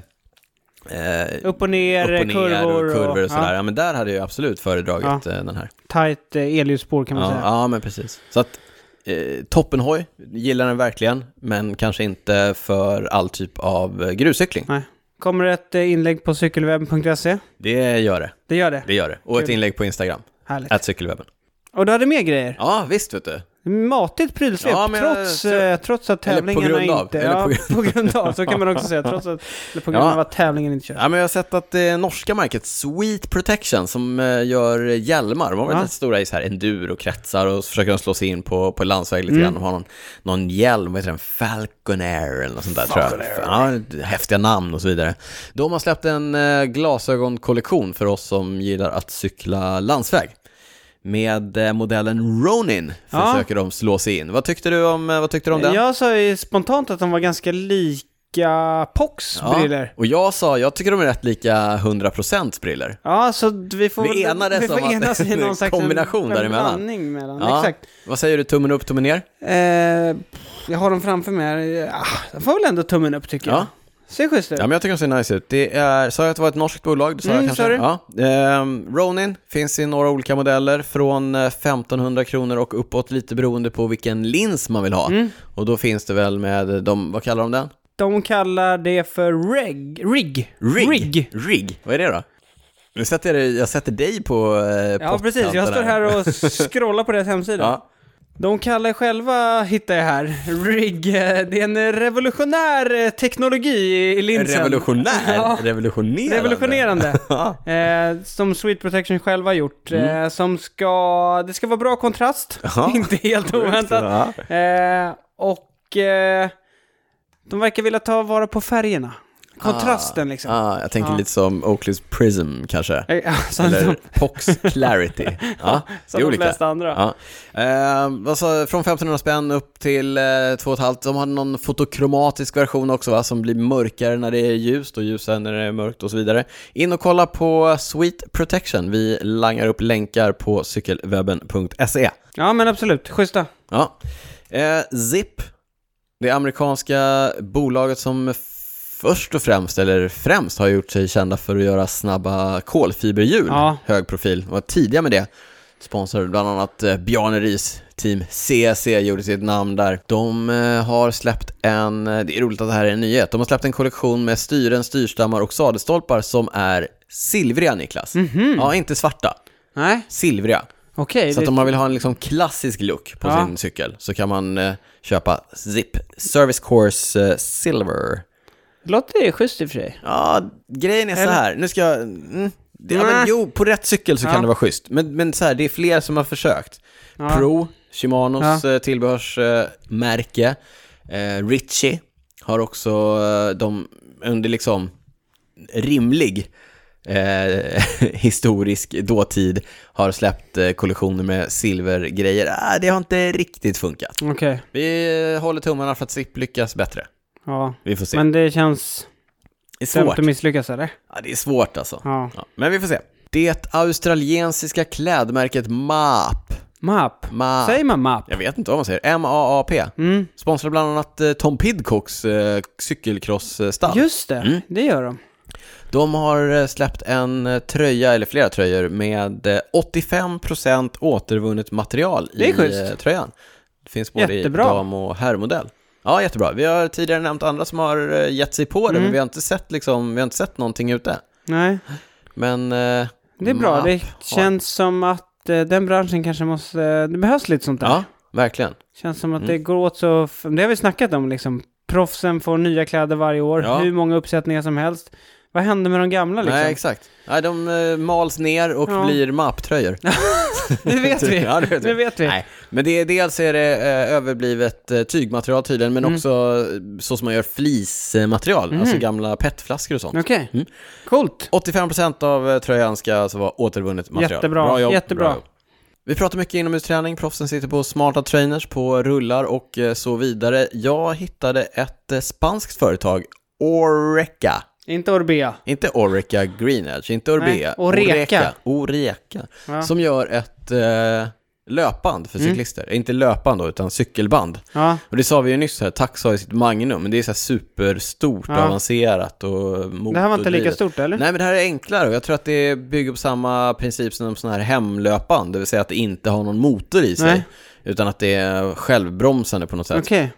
A: eh, upp
B: Upp och ner,
A: och ner
B: kurvor
A: och kurvor och sådär.
B: Ja,
A: Ja, men där hade jag absolut föredragit eh, den här.
B: tajt eh, elljusspår kan man
A: Ja,
B: säga.
A: ja, men precis. Så att eh, toppenhoj, gillar den verkligen, men kanske inte för all typ av eh, gruscykling.
B: Nej. Kommer ett eh, inlägg på cykelwebben.se?
A: Det gör det,
B: Det gör det.
A: det gör det. Och ett
B: Kul.
A: inlägg på Instagram,
B: Härligt.
A: att cykelwebben.
B: Och du hade mer grejer?
A: Ja, visst vet du.
B: Matigt prylsvep,
A: Ja, men jag-
B: trots,
A: så-
B: eh, trots att
A: Eller på
B: tävlingarna
A: grund av,
B: inte...
A: eller
B: ja,
A: på
B: på, grund av, så kan man också säga. Trots att, eller på grund
A: Ja.
B: av att tävlingen inte körs.
A: Ja, men jag har sett att det norska märket Sweet Protection som eh, gör hjälmar, de har varit
B: Ja.
A: rätt stora i så här enduro kretsar och så försöker de slå sig in på, på landsväg lite
B: Mm.
A: grann och har någon, någon hjälm, vad heter den, Falconair eller något sånt där tror jag. Ja, häftiga namn och så vidare. De har släppt en eh, glasögonkollektion för oss som gillar att cykla landsväg. Med eh, modellen Ronin
B: Ja.
A: försöker de slå sig in. Vad tyckte du om, eh, vad tyckte du om den?
B: Jag sa ju spontant att de var ganska lika Pox
A: Ja.
B: briller
A: Och jag sa, jag tycker de är rätt lika 100% briller.
B: Ja, så vi får,
A: Vi
B: väl-
A: enades
B: vi får
A: om att
B: enas i
A: det är
B: någon slags
A: kombination
B: en,
A: däremellan.
B: En blandning mellan.
A: Ja.
B: Exakt.
A: Vad säger du, tummen upp, tummen ner?
B: Eh, pff, jag har dem framför mig här. Ah, de får väl ändå tummen upp tycker jag.
A: Ja.
B: Ser schysst ut.
A: Ja, men jag tycker de ser nice ut. Det är, sa jag att det var ett norskt bolag? Det sa
B: Mm,
A: jag kanske?
B: sa
A: Ja. Ehm, Ronin finns i några olika modeller, från eh, 1500 kronor och uppåt, lite beroende på vilken lins man vill ha.
B: Mm.
A: Och då finns det väl med, de, vad kallar de den?
B: De kallar det för reg, rig.
A: Rig. Rig. Vad är det då? Nu sätter jag, dig- jag sätter dig på eh,
B: Ja, precis. Jag
A: pottkanten
B: står här och scrollar på deras hemsida.
A: Ja.
B: De kallar själva, hittar jag här, RIG. eh, Det är en revolutionär eh, teknologi i i linsen.
A: Revolutionär?
B: Ja.
A: Revolutionerande?
B: Revolutionerande.
A: Ja.
B: Eh, som Sweet Protection själva har gjort.
A: Mm.
B: Eh, som ska, det ska vara bra kontrast.
A: Ja.
B: Inte helt oväntat.
A: Ja.
B: Eh, och eh, de verkar vilja ta vara på färgerna. Kontrasten liksom.
A: Ah, jag tänker
B: Ja.
A: lite som Oakleys Prism kanske.
B: Eh, ja, som
A: Eller
B: de,
A: Pox Clarity. Ja, det är
B: som de
A: olika.
B: flesta andra.
A: Ja. Eh, alltså, från 1500 spänn upp till eh, 2,5. De har någon fotokromatisk version också va, som blir mörkare när det är ljust och ljusare när det är mörkt och så vidare. In och kolla på Sweet Protection. Vi langar upp länkar på cykelwebben.se.
B: ja men absolut, schyssta.
A: Ja. Eh, Zip, det amerikanska bolaget som först och främst, eller främst, har gjort sig kända för att göra snabba kolfiberhjul.
B: Ja.
A: Hög profil. De var tidiga med det. Sponsor bland annat eh, Bjarne Ries team CC gjorde sitt namn där. De eh, har släppt en, eh, det är roligt att det här är en nyhet, de har släppt en kollektion med styren, styrstammar och sadelstolpar som är silvriga Niklas. Ja, inte svarta.
B: Nej,
A: Silvriga.
B: okej.
A: Så att
B: det-
A: om man vill ha en liksom klassisk look på
B: Ja.
A: sin cykel så kan man eh, köpa Zip Service Course eh, Silver.
B: Det låter ju schysst i och för sig.
A: Ja, grejen är så
B: Eller-
A: här, nu ska jag... Mm, det, ja,
B: Nej.
A: men, jo, på rätt cykel så
B: Ja.
A: kan det vara schysst. Men, men så här, det är fler som har försökt.
B: Ja.
A: Pro, Shimanos ja. tillbehörsmärke, eh, Ritchie har också eh, de under liksom rimlig eh, historisk dåtid har släppt eh, kollektioner med silvergrejer. Ah, det har inte riktigt funkat.
B: Okej,
A: Vi eh, håller tummarna för att Zip lyckas bättre.
B: ja.
A: Vi får se.
B: Men det känns
A: det är
B: dumt
A: Typ. svårt.
B: att misslyckas eller?
A: Ja, det är svårt alltså.
B: Ja.
A: Ja, men vi får se. Det australiensiska klädmärket MAP.
B: Map.
A: MAP.
B: Säger man map?
A: Jag vet inte vad man säger. M-A-A-P.
B: Mm.
A: Sponsrar bland annat eh, Tom Pidcocks eh, cykelcrossstall.
B: Just det,
A: Mm.
B: det gör de.
A: De har eh, släppt en eh, tröja, eller flera tröjor, med eh, 85% återvunnet material
B: Det är
A: i
B: schysst.
A: eh, tröjan. Det finns både
B: Jättebra.
A: i dam och herrmodell. Ja, jättebra. Vi har tidigare nämnt andra som har eh, gett sig på det,
B: Mm.
A: men vi har inte sett, liksom, vi har inte sett någonting ute.
B: Nej,
A: Men... eh,
B: det är bra.
A: MAP
B: Det känns som att eh, den branschen kanske måste... eh, det behövs lite sånt där.
A: Ja, verkligen.
B: Känns som att det
A: Mm.
B: går åt så... f- Det har vi snackat om liksom. Proffsen får nya kläder varje år,
A: Ja.
B: hur många uppsättningar som helst. Vad hände med de gamla liksom?
A: Nej, exakt. Nej, de eh, mals ner och
B: Ja.
A: blir mapptröjor.
B: det vet vi.
A: Ja, det vet vi.
B: det vet vi.
A: Nej, men det är, dels är det eh, överblivet eh, tygmaterial tydligen,
B: Mm.
A: men också eh, så som man gör flismaterial, alltså
B: Mhm.
A: gamla petflaskor och sånt.
B: Okej, coolt.
A: 85% av eh, tröjan ska alltså vara återvunnet material.
B: Jättebra,
A: bra jobb,
B: jättebra.
A: Bra jobb. Vi pratar mycket inomhusträning, proffsen sitter på smarta trainers, på rullar och eh, så vidare. Jag hittade ett eh, spanskt företag, Oreca.
B: Inte Orbea.
A: Inte Oreca Green Edge, inte Orbea.
B: Nej, Oreca.
A: Oreca.
B: Ja. Mm.
A: Som gör ett eh, löpband för cyklister. Inte löpband då, utan cykelband.
B: Ja,
A: Och det sa vi ju nyss här, Tax har ju sitt Magnum, men det är så här superstort,
B: Ja.
A: avancerat och motordrivet.
B: det här var inte lika stort eller?
A: Nej, men det här är enklare och jag tror att det bygger på samma princip som sådana här hemlöpband, det vill säga att det inte har någon motor i sig,
B: Nej.
A: utan att det är självbromsande på något sätt.
B: Okej,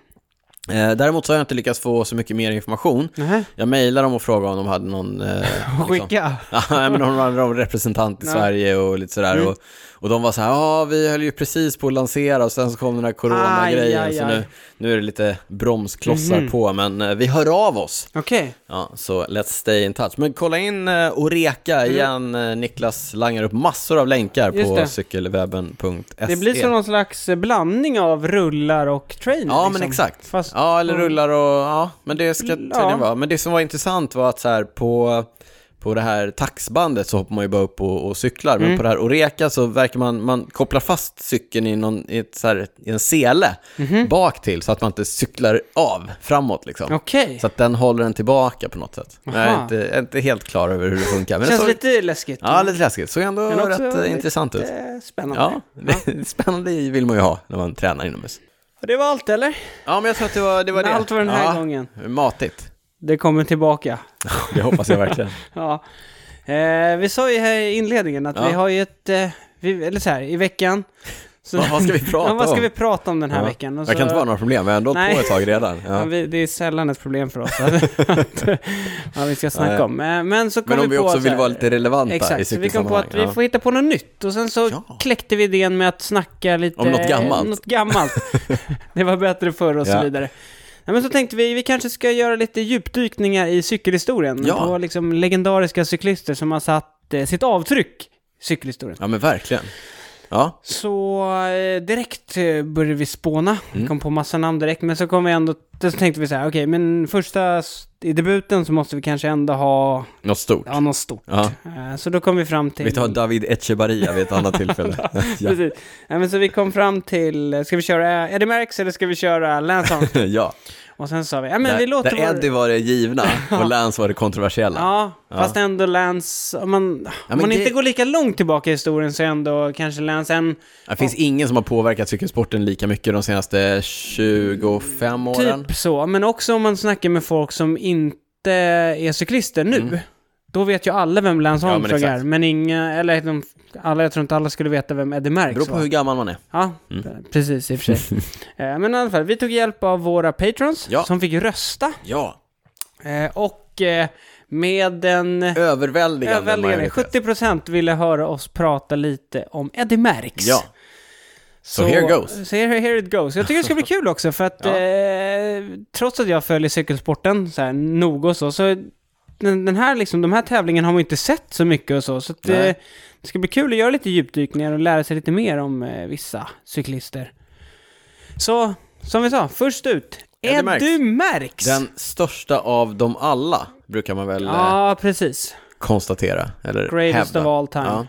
A: Eh, däremot så har jag inte lyckats få så mycket mer information.
B: Nähä.
A: Jag mejlade dem och frågade om de hade någon... Eh, liksom-
B: skicka.
A: Ja, nej, men de hade någon representant i
B: Ja.
A: Sverige och lite sådär.
B: Mm.
A: Och, och de var så här, ja vi höll ju precis på att lansera och sen så kom den här corona-grejen.
B: Aj, aj,
A: Så
B: aj. Mhm.
A: nu, nu är det lite bromsklossar på, men eh, vi hör av oss.
B: Okej,
A: Ja, så let's stay in touch. Men kolla in eh, Oreka igen. eh, Niklas langar upp massor av länkar
B: Mm. Just
A: på
B: det.
A: cykelwebben.se.
B: det blir som någon slags blandning av rullar och trainer.
A: Ja,
B: liksom.
A: men exakt.
B: Fast,
A: Ja, eller rullar och... Ja, men det ska
B: Ja.
A: tydligen vara. Men det som var intressant var att så här på... På det här taxbandet så hoppar man ju bara upp och, och cyklar,
B: Mm.
A: men på det här Oreka så verkar man, man kopplar fast cykeln i, någon, i, ett, så här, i en sele bak till så att man inte cyklar av framåt liksom.
B: Mhm. Okej,
A: Så att den håller den tillbaka på något sätt. Jag är
B: Aha.
A: inte, jag är inte helt klar över hur det funkar. Men
B: känns
A: det såg,
B: lite läskigt.
A: Ja, lite läskigt. Såg ändå
B: Men också
A: rätt eh,
B: lite-
A: intressant ut.
B: lite spännande.
A: Ja, spännande vill man ju ha när man tränar inomhus.
B: Och Det var allt eller?
A: Ja, men jag tror att det var det. Var det.
B: Allt var den här
A: ja,
B: gången.
A: Matigt.
B: Det kommer tillbaka.
A: Det hoppas jag verkligen.
B: Ja. Eh, vi sa ju här i inledningen att
A: Ja.
B: vi har ju ett, eh, vi, eller så här, i veckan. Så,
A: Vad- vad ska vi prata
B: ja, vad ska
A: om?
B: vi prata om den här
A: Ja.
B: veckan?
A: Jag
B: Och
A: kan
B: så-
A: inte vara några problem, jag har ändå hållit
B: Nej.
A: på ett tag redan.
B: Ja.
A: Ja.
B: vi, det är sällan ett problem för oss att, att vad vi ska snacka
A: Nej.
B: om. Eh, Men så kom
A: Men om vi
B: på
A: också
B: så
A: vill
B: här-
A: vara lite relevanta i
B: Exakt, så vi kom på
A: cykelsammanhang.
B: att vi
A: Ja.
B: får hitta på något nytt och sen så
A: Ja.
B: kläckte vi idén med att snacka lite
A: Om något gammalt.
B: något gammalt. det var bättre förr och
A: Ja.
B: så vidare. Nej, men så tänkte vi, vi kanske ska göra lite djupdykningar i cykelhistorien
A: Ja.
B: på liksom legendariska cyklister som har satt eh, sitt avtryck i cykelhistorien.
A: ja, men verkligen. Ja,
B: Så eh, direkt eh, började vi spåna,
A: Mm.
B: Vi kom på massa namn direkt, men så kom vi ändå, så tänkte vi så här, okej, men första s- i debuten så måste vi kanske ändå ha,
A: något stort.
B: ja, något stort.
A: Ja.
B: Eh, Så då kom vi fram till...
A: Vi tar David Echebarria vid ett annat tillfälle. ja.
B: Precis. Nej, men så vi kom fram till, eh, ska vi köra Eddie Merckx eller ska vi köra Lance Armstrong?
A: ja.
B: Och sen sa vi, ja men
A: där,
B: vi låter
A: där
B: vår-
A: Eddie var det givna och Lance var det kontroversiella.
B: Ja, fast ändå Lance, om man,
A: men
B: om man
A: det-
B: inte går lika långt tillbaka i historien så är ändå kanske Lance en,
A: Det finns ingen som har påverkat cykelsporten lika mycket de senaste 25 åren.
B: typ så. Men också om man snackar med folk som inte är cyklister nu. Då vet ju alla vem Lance
A: Mm. Ja, men
B: Armstrong
A: exakt.
B: är, men inga, eller de, alla, jag tror inte alla skulle veta vem Eddie
A: Det
B: Merckx
A: beror på
B: var.
A: hur Mm. gammal man är.
B: Ja, precis i och för sig. Eh, Men i alla fall, vi tog hjälp av våra patrons
A: Ja.
B: som fick rösta.
A: Ja.
B: Eh, Och eh, med en
A: Överväldigande,
B: överväldigande
A: majoritet.
B: 70% ville höra oss prata lite om Eddie Merckx.
A: Ja. so here goes.
B: Så here, here it goes. Jag tycker det ska bli kul också för att
A: Ja.
B: eh, trots att jag följer cykelsporten så här noga och så, så den, den här, liksom, de här tävlingen har man ju inte sett så mycket och så. Så att, eh,
A: Nej.
B: det ska bli kul att göra lite djupdykningar och lära sig lite mer om eh, vissa cyklister. Så, som vi sa, först ut.
A: Eddie
B: Eddie
A: Merckx.
B: Merckx! Merckx.
A: Den största av dem alla, brukar man väl eh,
B: Ja, precis.
A: konstatera. Eller
B: Greatest
A: hävda.
B: of all time.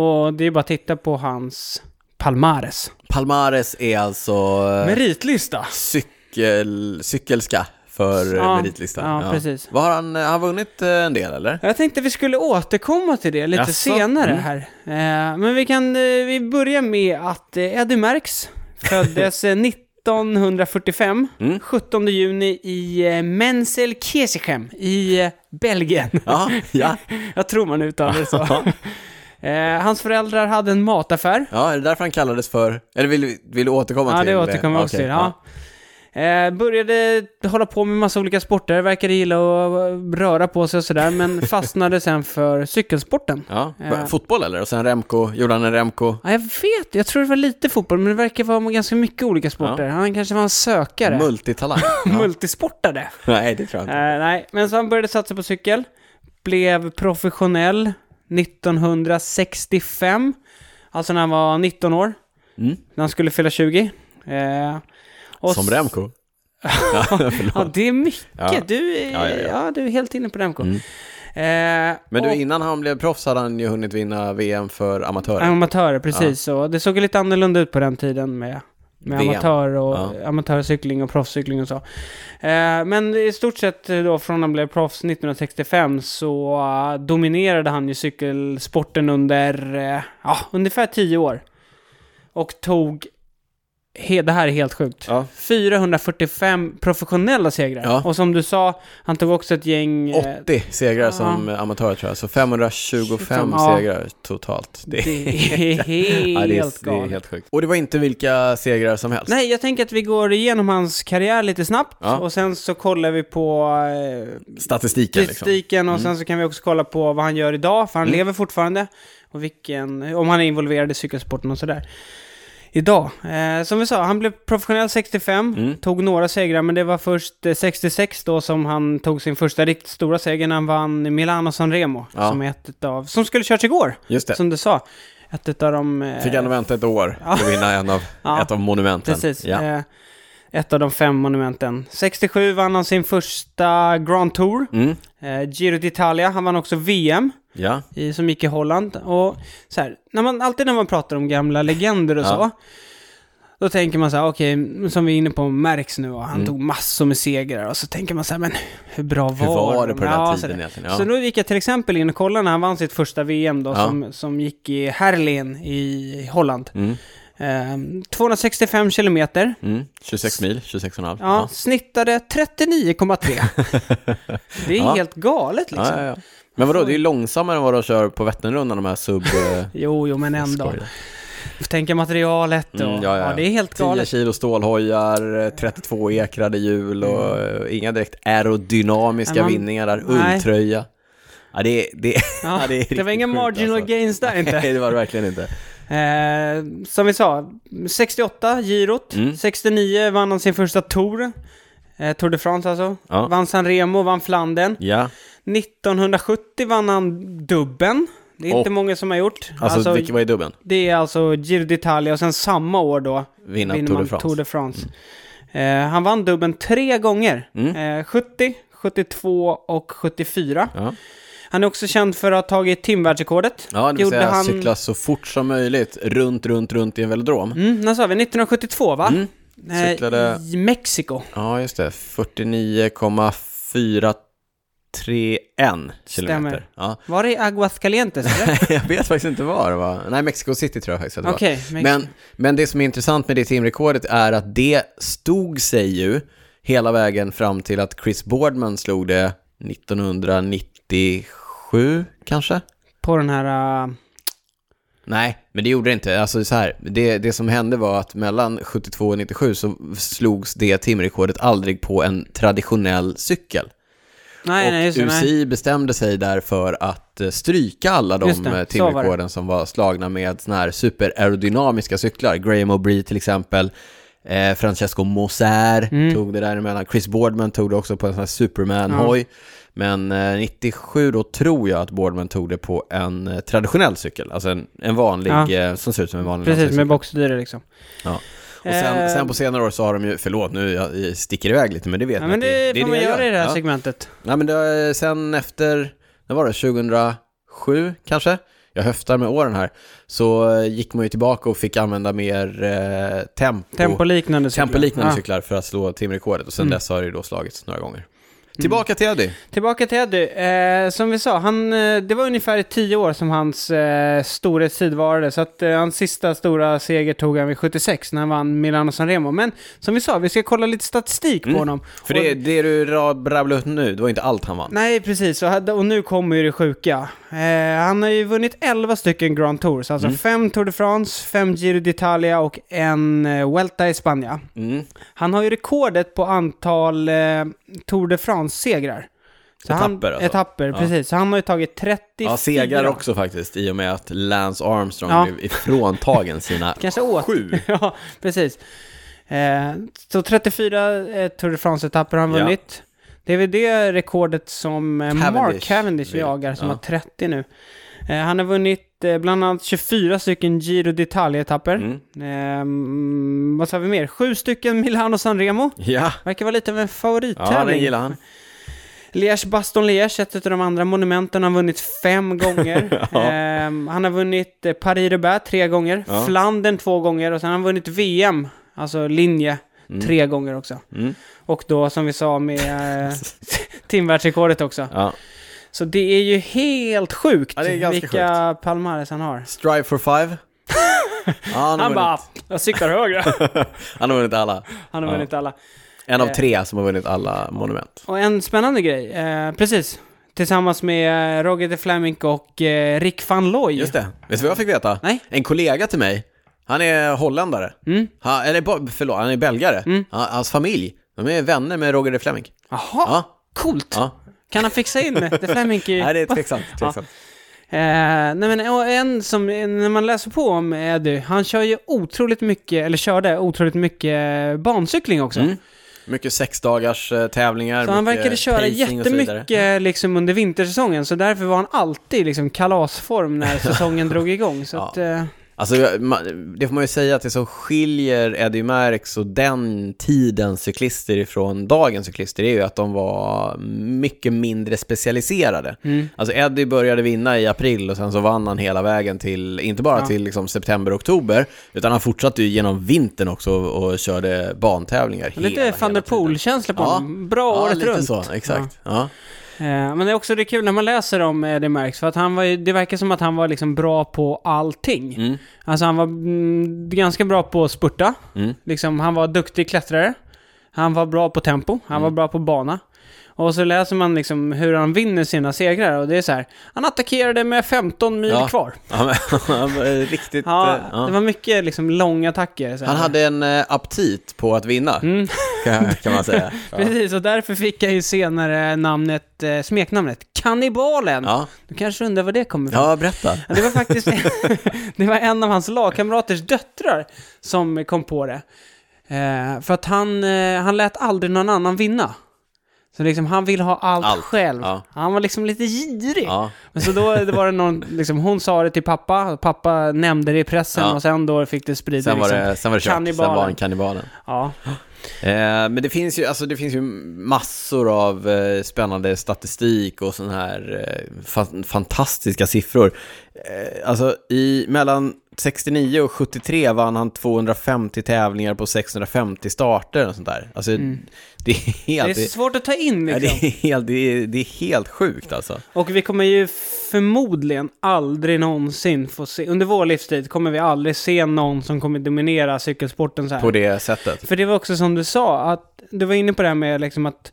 B: Och det är bara att titta på hans Palmares.
A: Palmares är alltså eh,
B: Meritlista.
A: cykel, cykelska för eh,
B: Ja,
A: ja. meritlistan.
B: ja, precis.
A: Vad har han, eh, han har vunnit eh, en del eller?
B: Jag tänkte vi skulle återkomma till det lite
A: Jaså? Mm.
B: senare här. Eh, men vi kan, eh, vi börjar med att eh, Eddie Merckx föddes eh, 1945,
A: Mm.
B: 17 juni i eh, Menzelkirchen i eh, Belgien.
A: Ja, ja.
B: Jag tror man uttalar det så. Eh, hans föräldrar hade en mataffär.
A: ja, är det därför han kallades för, eller vill, du- vill du återkomma
B: Ja,
A: till?
B: det återkommer
A: eh,
B: jag också
A: okej,
B: till. Ja. Eh, började hålla på med massa olika sporter, verkade gilla att eh, röra på sig och sådär, men fastnade sen för cykelsporten.
A: Ja.
B: Eh.
A: Fotboll eller? Och sen Remco, gjorde han en Remco?
B: Ja, jag vet, jag tror det var lite fotboll, men det verkar vara ganska mycket olika sporter. Han kanske var en sökare.
A: Multitalang? Ja.
B: Multisportade.
A: Nej, det tror jag
B: Eh,
A: inte.
B: nej, men så han började satsa på cykel. blev professionell 1965. Alltså när han var 19 år.
A: Mm.
B: När han skulle fylla 20. Eh, och
A: Som
B: s-
A: Remco. ja,
B: Ja,
A: förlåt.
B: det är mycket.
A: Ja.
B: Du, är-
A: Ja, ja, ja.
B: du är helt inne på Remco.
A: Mm.
B: Eh,
A: Men du,
B: och-
A: innan han blev proffs hade han ju hunnit vinna VM för amatörer.
B: Amatörer, precis. Så det såg ju lite annorlunda ut på den tiden med, med
A: VM.
B: amatör och
A: Ja.
B: amatörcykling och proffscykling och så. Eh, men i stort sett eh, då från han blev proffs 1965 så eh, dominerade han ju cykelsporten under eh, ja, ungefär 10 år. Och tog, he, det här är helt sjukt,
A: Ja.
B: 445 professionella segrar.
A: Ja.
B: Och som du sa, han tog också ett gäng... eh,
A: 80 segrar
B: ja.
A: som amatör tror jag, så 525
B: Ja.
A: segrar totalt. Det är,
B: Det är
A: ja, det är,
B: helt
A: det är
B: galet.
A: helt sjukt. Och det var inte vilka segrar som helst.
B: Nej, jag tänker att vi går igenom hans karriär lite snabbt
A: Ja.
B: och sen så kollar vi på eh,
A: Statistiken liksom. Mm.
B: statistiken och sen så kan vi också kolla på vad han gör idag, för han lever fortfarande. Och vilken, om han är involverad i cykelsporten och sådär. Idag. Eh, som vi sa, han blev professionell 65,
A: Mm.
B: tog några segrar, men det var först eh, 66 då som han tog sin första riktigt stora seger när han vann Milano Sanremo,
A: Ja.
B: som är ett av, som skulle körts igår,
A: Just det.
B: som du sa. Ett av de... eh,
A: Fick han vänta ett år för att vinna en av,
B: Ja.
A: ett av monumenten.
B: Precis.
A: Ja.
B: Eh, ett av de fem monumenten. 67 vann han sin första Grand Tour.
A: Mm.
B: Eh, Giro d'Italia. Han vann också VM
A: Ja.
B: i, som gick i Holland. Och så här, när man, alltid när man pratar om gamla legender och
A: Ja.
B: så. Då tänker man så här, okej, som vi är inne på, Merckx nu, och han tog massor med segrar. Och så tänker man så här, men hur bra var,
A: Mm. Hur var det
B: de?
A: på den här
B: Ja, så
A: tiden
B: där.
A: egentligen? Ja.
B: Så nu gick jag till exempel in och kollade när han vann sitt första VM då,
A: Ja.
B: som, som gick i Herlin i Holland.
A: Mm.
B: Eh, 265 kilometer.
A: Mm. 26 mil, 26,5.
B: Ja, snittade 39,3. det är
A: Ja.
B: helt galet liksom.
A: Ja, ja, ja. Men vadå, det är ju långsammare än vad de kör på Vätternrundan, de här sub... eh,
B: Jo, jo, men ändå.
A: skojar.
B: Tänka materialet och...
A: Mm,
B: ja,
A: ja, ja, ja.
B: det är helt
A: 10
B: galet. Mm.
A: kilo stålhojar, eh, 32 ekrade hjul och eh, inga direkt aerodynamiska
B: Nej, man-
A: vinningar där,
B: Mm. Nej.
A: ulltröja. Ja, det, det,
B: Ja,
A: ja, det är
B: det var
A: riktigt
B: inga
A: sjukt,
B: marginal
A: alltså.
B: gains där inte.
A: Nej, det var det verkligen inte.
B: Eh, som vi sa, 68 girot,
A: Mm.
B: 69 vann han sin första Tour. Eh, Tour de France alltså.
A: Ja.
B: Vann San Remo, vann Flandern.
A: Ja,
B: 1970 vann han dubben. Det är inte
A: Och-
B: många som har gjort.
A: alltså,
B: Alltså,
A: vilket var i dubben?
B: det är alltså Giro d'Italia och sen samma år då
A: Vinna
B: vinner
A: Tour de
B: man
A: France. Mm.
B: Tour de France. Eh, han vann dubben tre gånger. Eh, 70, 72 och 74.
A: Ja.
B: Han är också känd för att ha tagit timvärldsrekordet.
A: ja, det vill
B: Gjorde
A: säga
B: han-
A: cykla så fort som möjligt, runt, runt, runt i en velodrom.
B: Mm, när sa vi? 1972 va? Eh,
A: Mm. Cyklade-
B: I Mexiko.
A: Ja, just det. 49,431 kilometer. Ja.
B: Var det i Aguascalientes eller?
A: jag vet faktiskt inte var det var. Nej, Mexico City tror jag faktiskt att det var.
B: Okej, Mexiko.
A: Men, men det som är intressant med det teamrekordet är att det stod sig ju hela vägen fram till att Chris Boardman slog det 1997 kanske?
B: På den här... eh,
A: Nej, men det gjorde det inte. Alltså så här, det, det som hände var att mellan 72 och 97 så slogs det timrekordet aldrig på en traditionell cykel.
B: nej,
A: och
B: nej, just det. nej.
A: UCI bestämde sig där för att eh, stryka alla de
B: Just det,
A: eh,
B: så var
A: timrekorden som var slagna med såna här superaerodynamiska cyklar. Graham O'Bree till exempel, eh, Francesco Moser
B: Mm.
A: tog det däremellan, Chris Boardman tog det också på en sån här Superman-hoj. Men eh, 97 då tror jag att Boardman tog det på en eh, traditionell cykel, alltså en, en vanlig,
B: Ja.
A: eh, som ser ut som en vanlig
B: Precis, med
A: landsvägscykel.
B: boxdyra liksom.
A: Ja. Och sen,
B: Eh,
A: sen på senare år så har de ju, förlåt nu jag jag sticker iväg lite men det vet
B: Ja,
A: ni
B: men
A: att
B: det, får man
A: jag
B: göra i det här
A: Ja.
B: segmentet.
A: Nej men det, var- sen efter, när var det, 2007 kanske? Jag höftar med åren här. Så eh, gick man ju tillbaka och fick använda mer eh, tempo,
B: Tempoliknande cyklar.
A: tempoliknande
B: Ja. Mm.
A: cyklar för att slå timrekordet och sen dess har det ju då slagits några gånger. Tillbaka till Eddie.
B: Tillbaka till Eddie. Eh, som vi sa, han, eh, det var ungefär i tio år som hans eh, storhetstid varade. Så att eh, hans sista stora seger tog han vid 76 när han vann Milano Sanremo. Men som vi sa, vi ska kolla lite statistik på honom.
A: Mm. För
B: Och-
A: det, det du rab- rabblade upp nu, det var inte allt han vann.
B: Nej, precis. Och, hade- och nu kommer ju det sjuka. Eh, han har ju vunnit 11 stycken Grand Tours, alltså
A: Mm.
B: fem Tour de France, fem Giro d'Italia och en eh, Vuelta i Spanien.
A: Mm.
B: Han har ju rekordet på antal eh, Tour de France-segrar. Så han-
A: Etapper, alltså.
B: Etapper,
A: Ja.
B: precis. Så han har ju tagit 34.
A: Ja, segrar också faktiskt i och med att Lance Armstrong
B: Ja.
A: blev ifråntagen sina
B: Kanske åt.
A: sju.
B: ja, precis. Eh, så 34 eh, Tour de France-etapper har han
A: Ja.
B: vunnit. Det är väl det rekordet som eh, Mark
A: Cavendish
B: Cavendish
A: vill.
B: jagar, som
A: Ja.
B: har 30 nu. Eh, Han har vunnit eh, bland annat 24 stycken Giro d'Italia-etapper.
A: Mm.
B: Ehm, vad sa vi mer? Sju stycken Milano Sanremo.
A: Ja,
B: Verkar vara lite av
A: ja
B: en
A: den
B: favorittävling.
A: gillar han.
B: Liège Baston Liège, ett av de andra monumenten, har vunnit fem gånger.
A: Ja.
B: Ehm, han har vunnit eh, Paris-Roubaix tre gånger,
A: Ja.
B: Flandern två gånger och sen har han vunnit VM, alltså linje, tre gånger också.
A: Mm.
B: Och då som vi sa med eh, timvärldsrekordet också.
A: Ja.
B: Så det är ju helt sjukt
A: Ja, det är ganska
B: vilka Palmares han har.
A: Strive for five. Ja, han, har
B: Han bara,
A: vunnit.
B: jag siktar högre.
A: han har vunnit alla.
B: Han har
A: Ja.
B: vunnit alla.
A: En av
B: Eh.
A: tre som har vunnit alla monument.
B: Och en spännande grej, eh, precis. Tillsammans med eh, Roger de Fleming och eh, Rick van Looy.
A: Just det. Vet du vad jag fick veta?
B: Nej. Mm.
A: En kollega till mig, han är holländare. Han, eller bo- förlåt, han är belgare. Han, hans familj, de är vänner med Roger de Fleming.
B: Jaha,
A: Ja.
B: coolt!
A: Ja.
B: Kan han fixa in de Fleming i...
A: Nej, det är tveksamt. tveksamt.
B: Eh, nej men och en som, när man läser på om Eddie, han kör ju otroligt mycket, eller körde otroligt mycket bancykling också.
A: Mycket sexdagars eh, tävlingar,
B: Så han
A: Mm. mycket
B: verkade köra
A: pacing och så vidare. Mm.
B: jättemycket liksom under vintersäsongen, så därför var han alltid liksom kalasform när säsongen drog igång. Så
A: Ja.
B: att, eh,
A: Alltså, man- det får man ju säga att det som skiljer Eddie Merckx och den tidens cyklister ifrån dagens cyklister är ju att de var mycket mindre specialiserade.
B: Mm.
A: Alltså Eddie började vinna i april och sen så vann han hela vägen till, inte bara
B: Ja.
A: till liksom september, oktober, utan han fortsatte ju genom vintern också och, och körde bantävlingar hela,
B: lite van der
A: hela tiden.
B: Poel-känsla på
A: Ja.
B: honom. Bra
A: Ja,
B: året
A: lite
B: runt.
A: så, exakt. Ja.
B: Eh, Men det är också det är kul när man läser om eh, det märks, för att han var ju, det verkar som att han var liksom bra på allting.
A: Mm.
B: Alltså han var mm, ganska bra på att spurta,
A: Mm.
B: liksom, han var duktig klättrare, han var bra på tempo,
A: Mm.
B: han var bra på bana. Och så läser man liksom hur han vinner sina segrar och det är så här, han attackerade med 15 mil
A: Ja.
B: kvar.
A: Ja, men, han var riktigt...
B: Ja,
A: eh, ja.
B: det var mycket liksom långa attacker. Så här.
A: Han hade en eh, aptit på att vinna, kan, kan man säga. Ja.
B: Mm. Precis, och därför fick jag ju senare namnet, eh, smeknamnet Kannibalen.
A: Ja.
B: Du kanske undrar var det kommer ifrån?
A: Ja, berätta.
B: Ja, det var faktiskt det var en av hans lagkamraters döttrar som kom på det. Eh, för att han, eh, han lät aldrig någon annan vinna. Så liksom, han ville ha allt,
A: Allt,
B: själv.
A: ja.
B: Han var liksom lite girig.
A: Ja.
B: Men så då det var det någon, liksom, hon sa det till pappa, och pappa nämnde det i pressen
A: Ja.
B: och sen då fick det spridning.
A: Sen var
B: liksom.
A: det, sen var det kört. Sen
B: Kannibalen.
A: var han kannibalen.
B: Ja.
A: Eh, men det finns, ju, alltså, det finns ju massor av eh, spännande statistik och sådana här eh, fa- fantastiska siffror. Eh, alltså, i, mellan 69 och 73 vann han 250 tävlingar på 650 starter och sånt där. Alltså, det är
B: Mm. Det
A: helt...
B: är svårt att ta in
A: ja, det,
B: liksom.
A: är helt, det, är, det är helt sjukt alltså.
B: Och vi kommer ju förmodligen aldrig någonsin få se, under vår livstid kommer vi aldrig se någon som kommer dominera cykelsporten så här.
A: På det sättet.
B: För det var också som du sa, att du var inne på det här med liksom att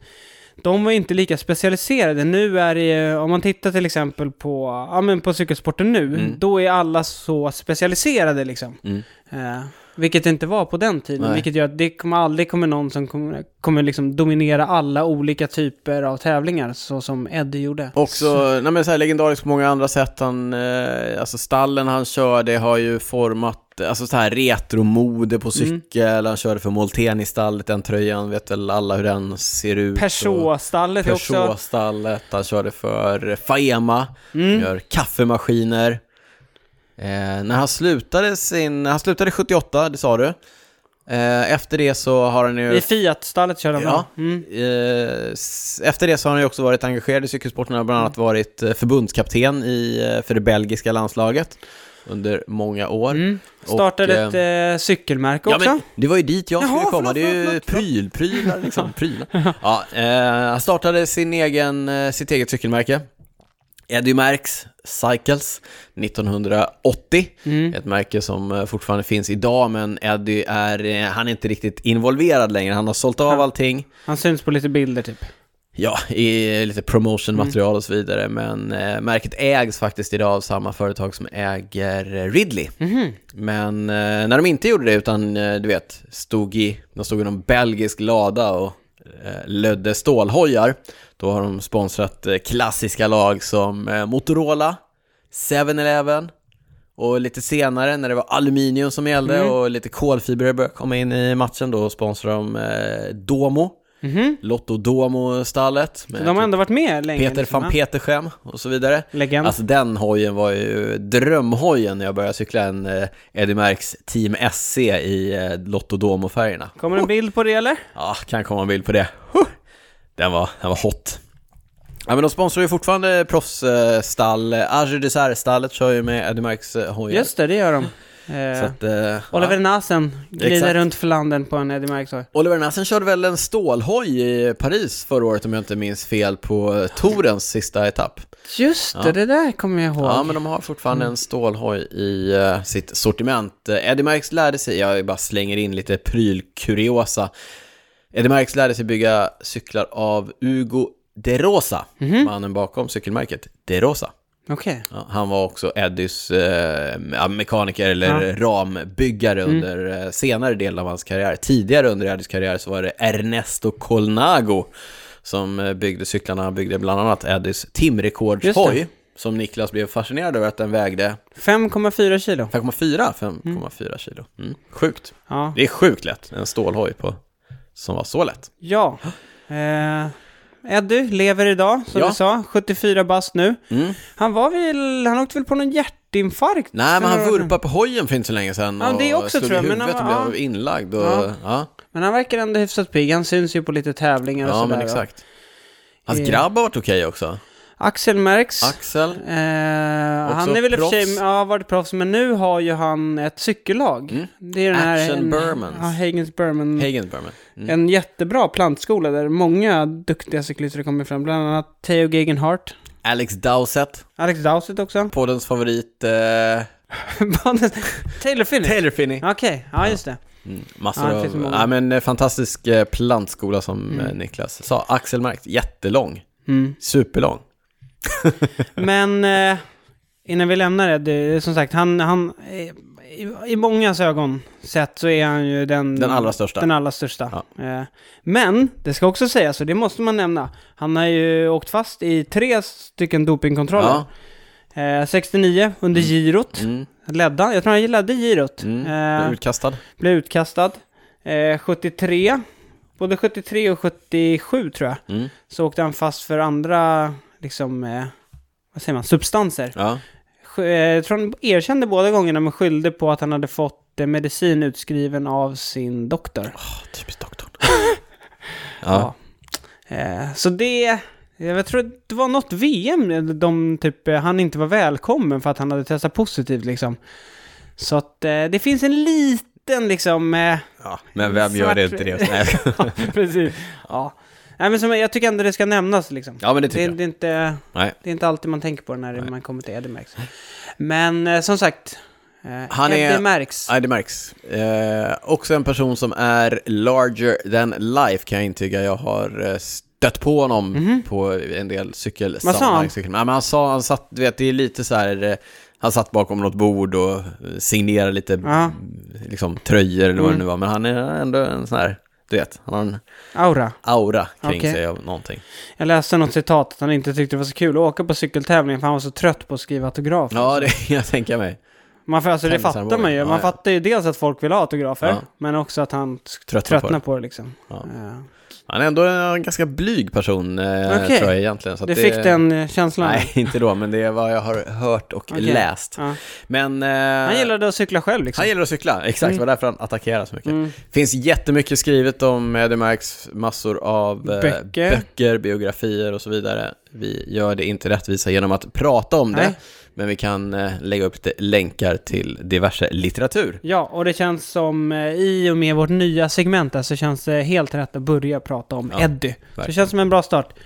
B: de var inte lika specialiserade. Nu är det ju, om man tittar till exempel på, ja, men på cykelsporten nu, då är alla så specialiserade liksom.
A: Mm.
B: Eh, vilket det inte var på den tiden,
A: Nej.
B: vilket gör att det kommer aldrig kommer någon som kommer, kommer liksom dominera alla olika typer av tävlingar, så som Eddie gjorde.
A: Också, nej men så här, legendarisk på många andra sätt. Han, eh, alltså stallen han körde har ju format, alltså så här retromode på cykel. Han körde för Molten i stallet, den tröjan vet väl alla hur den ser ut. Och
B: Peugeot-stallet är också...
A: Peugeot-stallet, han körde för Faema, mm. gör kaffemaskiner. Eh, när han slutade sin, han slutade 78, det sa du. Eh, efter det så har han ju...
B: I Fiat-stallet kör de
A: Ja.
B: då. Mm.
A: Eh, s- Efter det så har han ju också varit engagerad i cykelsporten, Han har bland annat
B: Mm.
A: varit eh, förbundskapten i, eh, för det belgiska landslaget under många år.
B: Mm.
A: Och,
B: Startade
A: eh,
B: ett eh, cykelmärke
A: Ja,
B: också.
A: men det var ju dit jag
B: Jaha,
A: skulle komma,
B: förlåt,
A: det är ju
B: förlåt,
A: pryl, prylar liksom, prylar. Ja, eh, han startade sin egen, eh, sitt eget cykelmärke, Eddie Merckx Cycles 1980.
B: Mm.
A: Ett märke som eh, fortfarande finns idag, men Eddie är, eh, han är inte riktigt involverad längre, han har sålt av
B: Ja.
A: allting.
B: Han syns på lite bilder typ.
A: Ja, i lite promotionmaterial och så vidare, men eh, märket ägs faktiskt idag av samma företag som äger eh, Ridley.
B: Mm. Mhm,
A: Men eh, när de inte gjorde det, utan eh, du vet, stod i, de stod i någon belgisk lada och eh, lödde stålhojar, då har de sponsrat eh, klassiska lag som eh, Motorola, 7-Eleven, och lite senare när det var aluminium som gällde och lite kolfibrer började komma in i matchen, då sponsrade de eh, Domo.
B: Mhm.
A: Lotto Duomo-stallet
B: Så de har
A: med typ
B: ändå varit med länge.
A: Peter
B: liksom,
A: van
B: va?
A: Peterschem och så vidare.
B: Legend.
A: Alltså den hojen var ju drömhojen när jag började cykla en eh, Eddie Merckx Team SC i eh, Lotto Duomo-färgerna.
B: Kommer en bild på det eller?
A: Ja, kan komma en bild på det. Huh! Den var, den var hot. Ja, men de sponsrar ju fortfarande proffsstall. Eh, Arger Dessert-stallet kör ju med Eddie Merckx eh, hojar.
B: Just det, det gör de.
A: Så
B: Eh,
A: att, eh,
B: Oliver
A: ja.
B: Nasen glider
A: Exakt.
B: runt för landen på en Eddie Markshoj.
A: Oliver Nassen körde väl en stålhoj i Paris förra året om jag inte minns fel på eh, Tourens sista etapp.
B: Just det,
A: Ja.
B: det där kommer jag ihåg.
A: Ja, men de har fortfarande en stålhoj i eh, sitt sortiment. Eh, Eddie Merckx lärde sig, jag bara slänger in lite prylkuriosa. Eddie Merckx lärde sig bygga cyklar av Hugo De Rosa, mannen bakom cykelmärket De Rosa.
B: Okej.
A: Ja, han var också Eddies eh, ja, mekaniker eller rambyggare
B: Mm.
A: under eh, senare delen av hans karriär. Tidigare under Eddies karriär så var det Ernesto Colnago som eh, byggde cyklarna. Han byggde bland annat Eddies timrekordshoj som Niklas blev fascinerad över att den vägde
B: 5,4 kilo.
A: 5,4 5,4 kilo. Mm. Sjukt.
B: Ja.
A: Det är sjukt lätt, en stålhoj på, som var så lätt.
B: ja. Eh, Eddie lever idag, som
A: Ja.
B: du sa. 74 bast nu.
A: Mm.
B: Han var väl, han åkte väl på någon hjärtinfarkt?
A: Nej, men
B: för
A: han
B: några år sedan.
A: vurpade på hojen för inte så länge sedan
B: Ja, det
A: och
B: också,
A: slog
B: tror jag,
A: i
B: men
A: huvudet och
B: han-
A: blev inlagd. Och,
B: Ja.
A: Ja.
B: Men han verkar ändå hyfsat pigg. Han syns ju på lite tävlingar och
A: Ja,
B: sådär.
A: men
B: va?
A: exakt. Hans
B: Eh.
A: grabb har varit okej också.
B: Axel Merks.
A: Axel.
B: Eh, han är väl i och för sig,
A: proffs.
B: ja, har varit proffs, men nu har ju han ett cykellag. Det är den här...
A: Mm. Action
B: en-
A: Burmans.
B: Ja, Hagens Burman.
A: Hagen Berman. Mm.
B: En jättebra plantskola där många duktiga cyklister kommer fram, bland annat Theo Gegenhardt.
A: Alex Dowsett,
B: Alex Dowsett också.
A: poddens favorit. Eh,
B: Taylor Finney.
A: Taylor Finney.
B: Okej, ja just det.
A: Massor
B: Ja, det
A: av...
B: finns så många. Mm.
A: Ja, men eh, fantastisk eh, plantskola som eh, Niklas sa. Axel Markt, jättelång. Superlång.
B: Men eh, innan vi lämnar det, det, som sagt, han, han eh, i, i mångas ögon sett så är han ju den...
A: Den allra största.
B: Mm. Den allra största. Eh, men, det ska också sägas, och det måste man nämna, han har ju åkt fast i tre stycken dopingkontroller.
A: Ja.
B: Eh, 69 under girot.
A: Mm.
B: Ledde han? Jag tror han ledde girot.
A: Mm.
B: Eh,
A: Blev utkastad.
B: blev utkastad. Eh, 73, både 73 och 77 tror jag,
A: Mm.
B: så åkte han fast för andra, liksom, eh, vad säger man, substanser.
A: Ja.
B: Sk- eh, Jag tror han erkände båda gångerna men skyllde på att han hade fått eh, medicin utskriven av sin doktor.
A: Oh, typiskt doktorn.
B: Ja.
A: ja.
B: Eh, Så det, jag tror det var något VM där de typ, eh, han inte var välkommen för att han hade testat positivt liksom. Så att eh, det finns en liten liksom, eh,
A: ja. Men vem gör det inte det? Nej.
B: ja, precis. Ja. Nej, men som, jag tycker ändå det ska nämnas liksom.
A: Ja, men det
B: det,
A: tycker
B: är-
A: jag.
B: det, är inte,
A: Nej.
B: det är inte alltid man tänker på det när man kommer till Eddie Merckx. Men eh, som sagt, eh,
A: Han är-
B: Eddie Merckx.
A: Nej, det märks. Eh, också en person som är larger than life kan jag intyga. Jag har eh, stött på honom på en del
B: Mhm. Vad sa han?
A: cykelsammanhang. Cykel. Nej, men han sa, han satt, du vet, det är lite så här, eh, han satt bakom något bord och eh, signerade lite
B: Ja. Mm.
A: liksom, tröjor eller vad det nu var. Men han är ändå en sån här, du vet, han har en
B: Aura.
A: aura kring
B: Okej.
A: sig av någonting.
B: Jag läste något citat att han inte tyckte det var så kul att åka på cykeltävlingen för han var så trött på att skriva autografer.
A: Ja, det jag tänker mig.
B: Man, får- alltså, det
A: Tennisarmbågen.
B: fattar man ju.
A: Ja,
B: Man
A: ja.
B: fattar ju dels att folk vill ha autografer,
A: Ja.
B: men också att han
A: på
B: tröttnar, på, det. liksom.
A: Ja.
B: Eh,
A: Han är ändå en ganska blyg person, eh,
B: Okej.
A: tror jag egentligen. Så att
B: Det fick den eh, känslan.
A: Nej, inte då, men det är vad jag har hört och
B: Okej.
A: läst.
B: Ja.
A: Men... eh,
B: Han gillade att cykla Mm. själv liksom.
A: han gillar att cykla, exakt. Det var därför han attackerade så mycket. finns jättemycket skrivet om Eddie Merckx, massor av eh,
B: Böcker.
A: böcker, biografier och så vidare. Vi gör det inte rättvisa genom att prata om det,
B: Nej.
A: men vi kan eh, lägga upp lite länkar till diverse litteratur.
B: Ja, och det känns som eh, i och med vårt nya segment där så känns det helt rätt att börja prata om
A: Ja,
B: Eddie. Så det
A: verkligen.
B: känns som en bra start.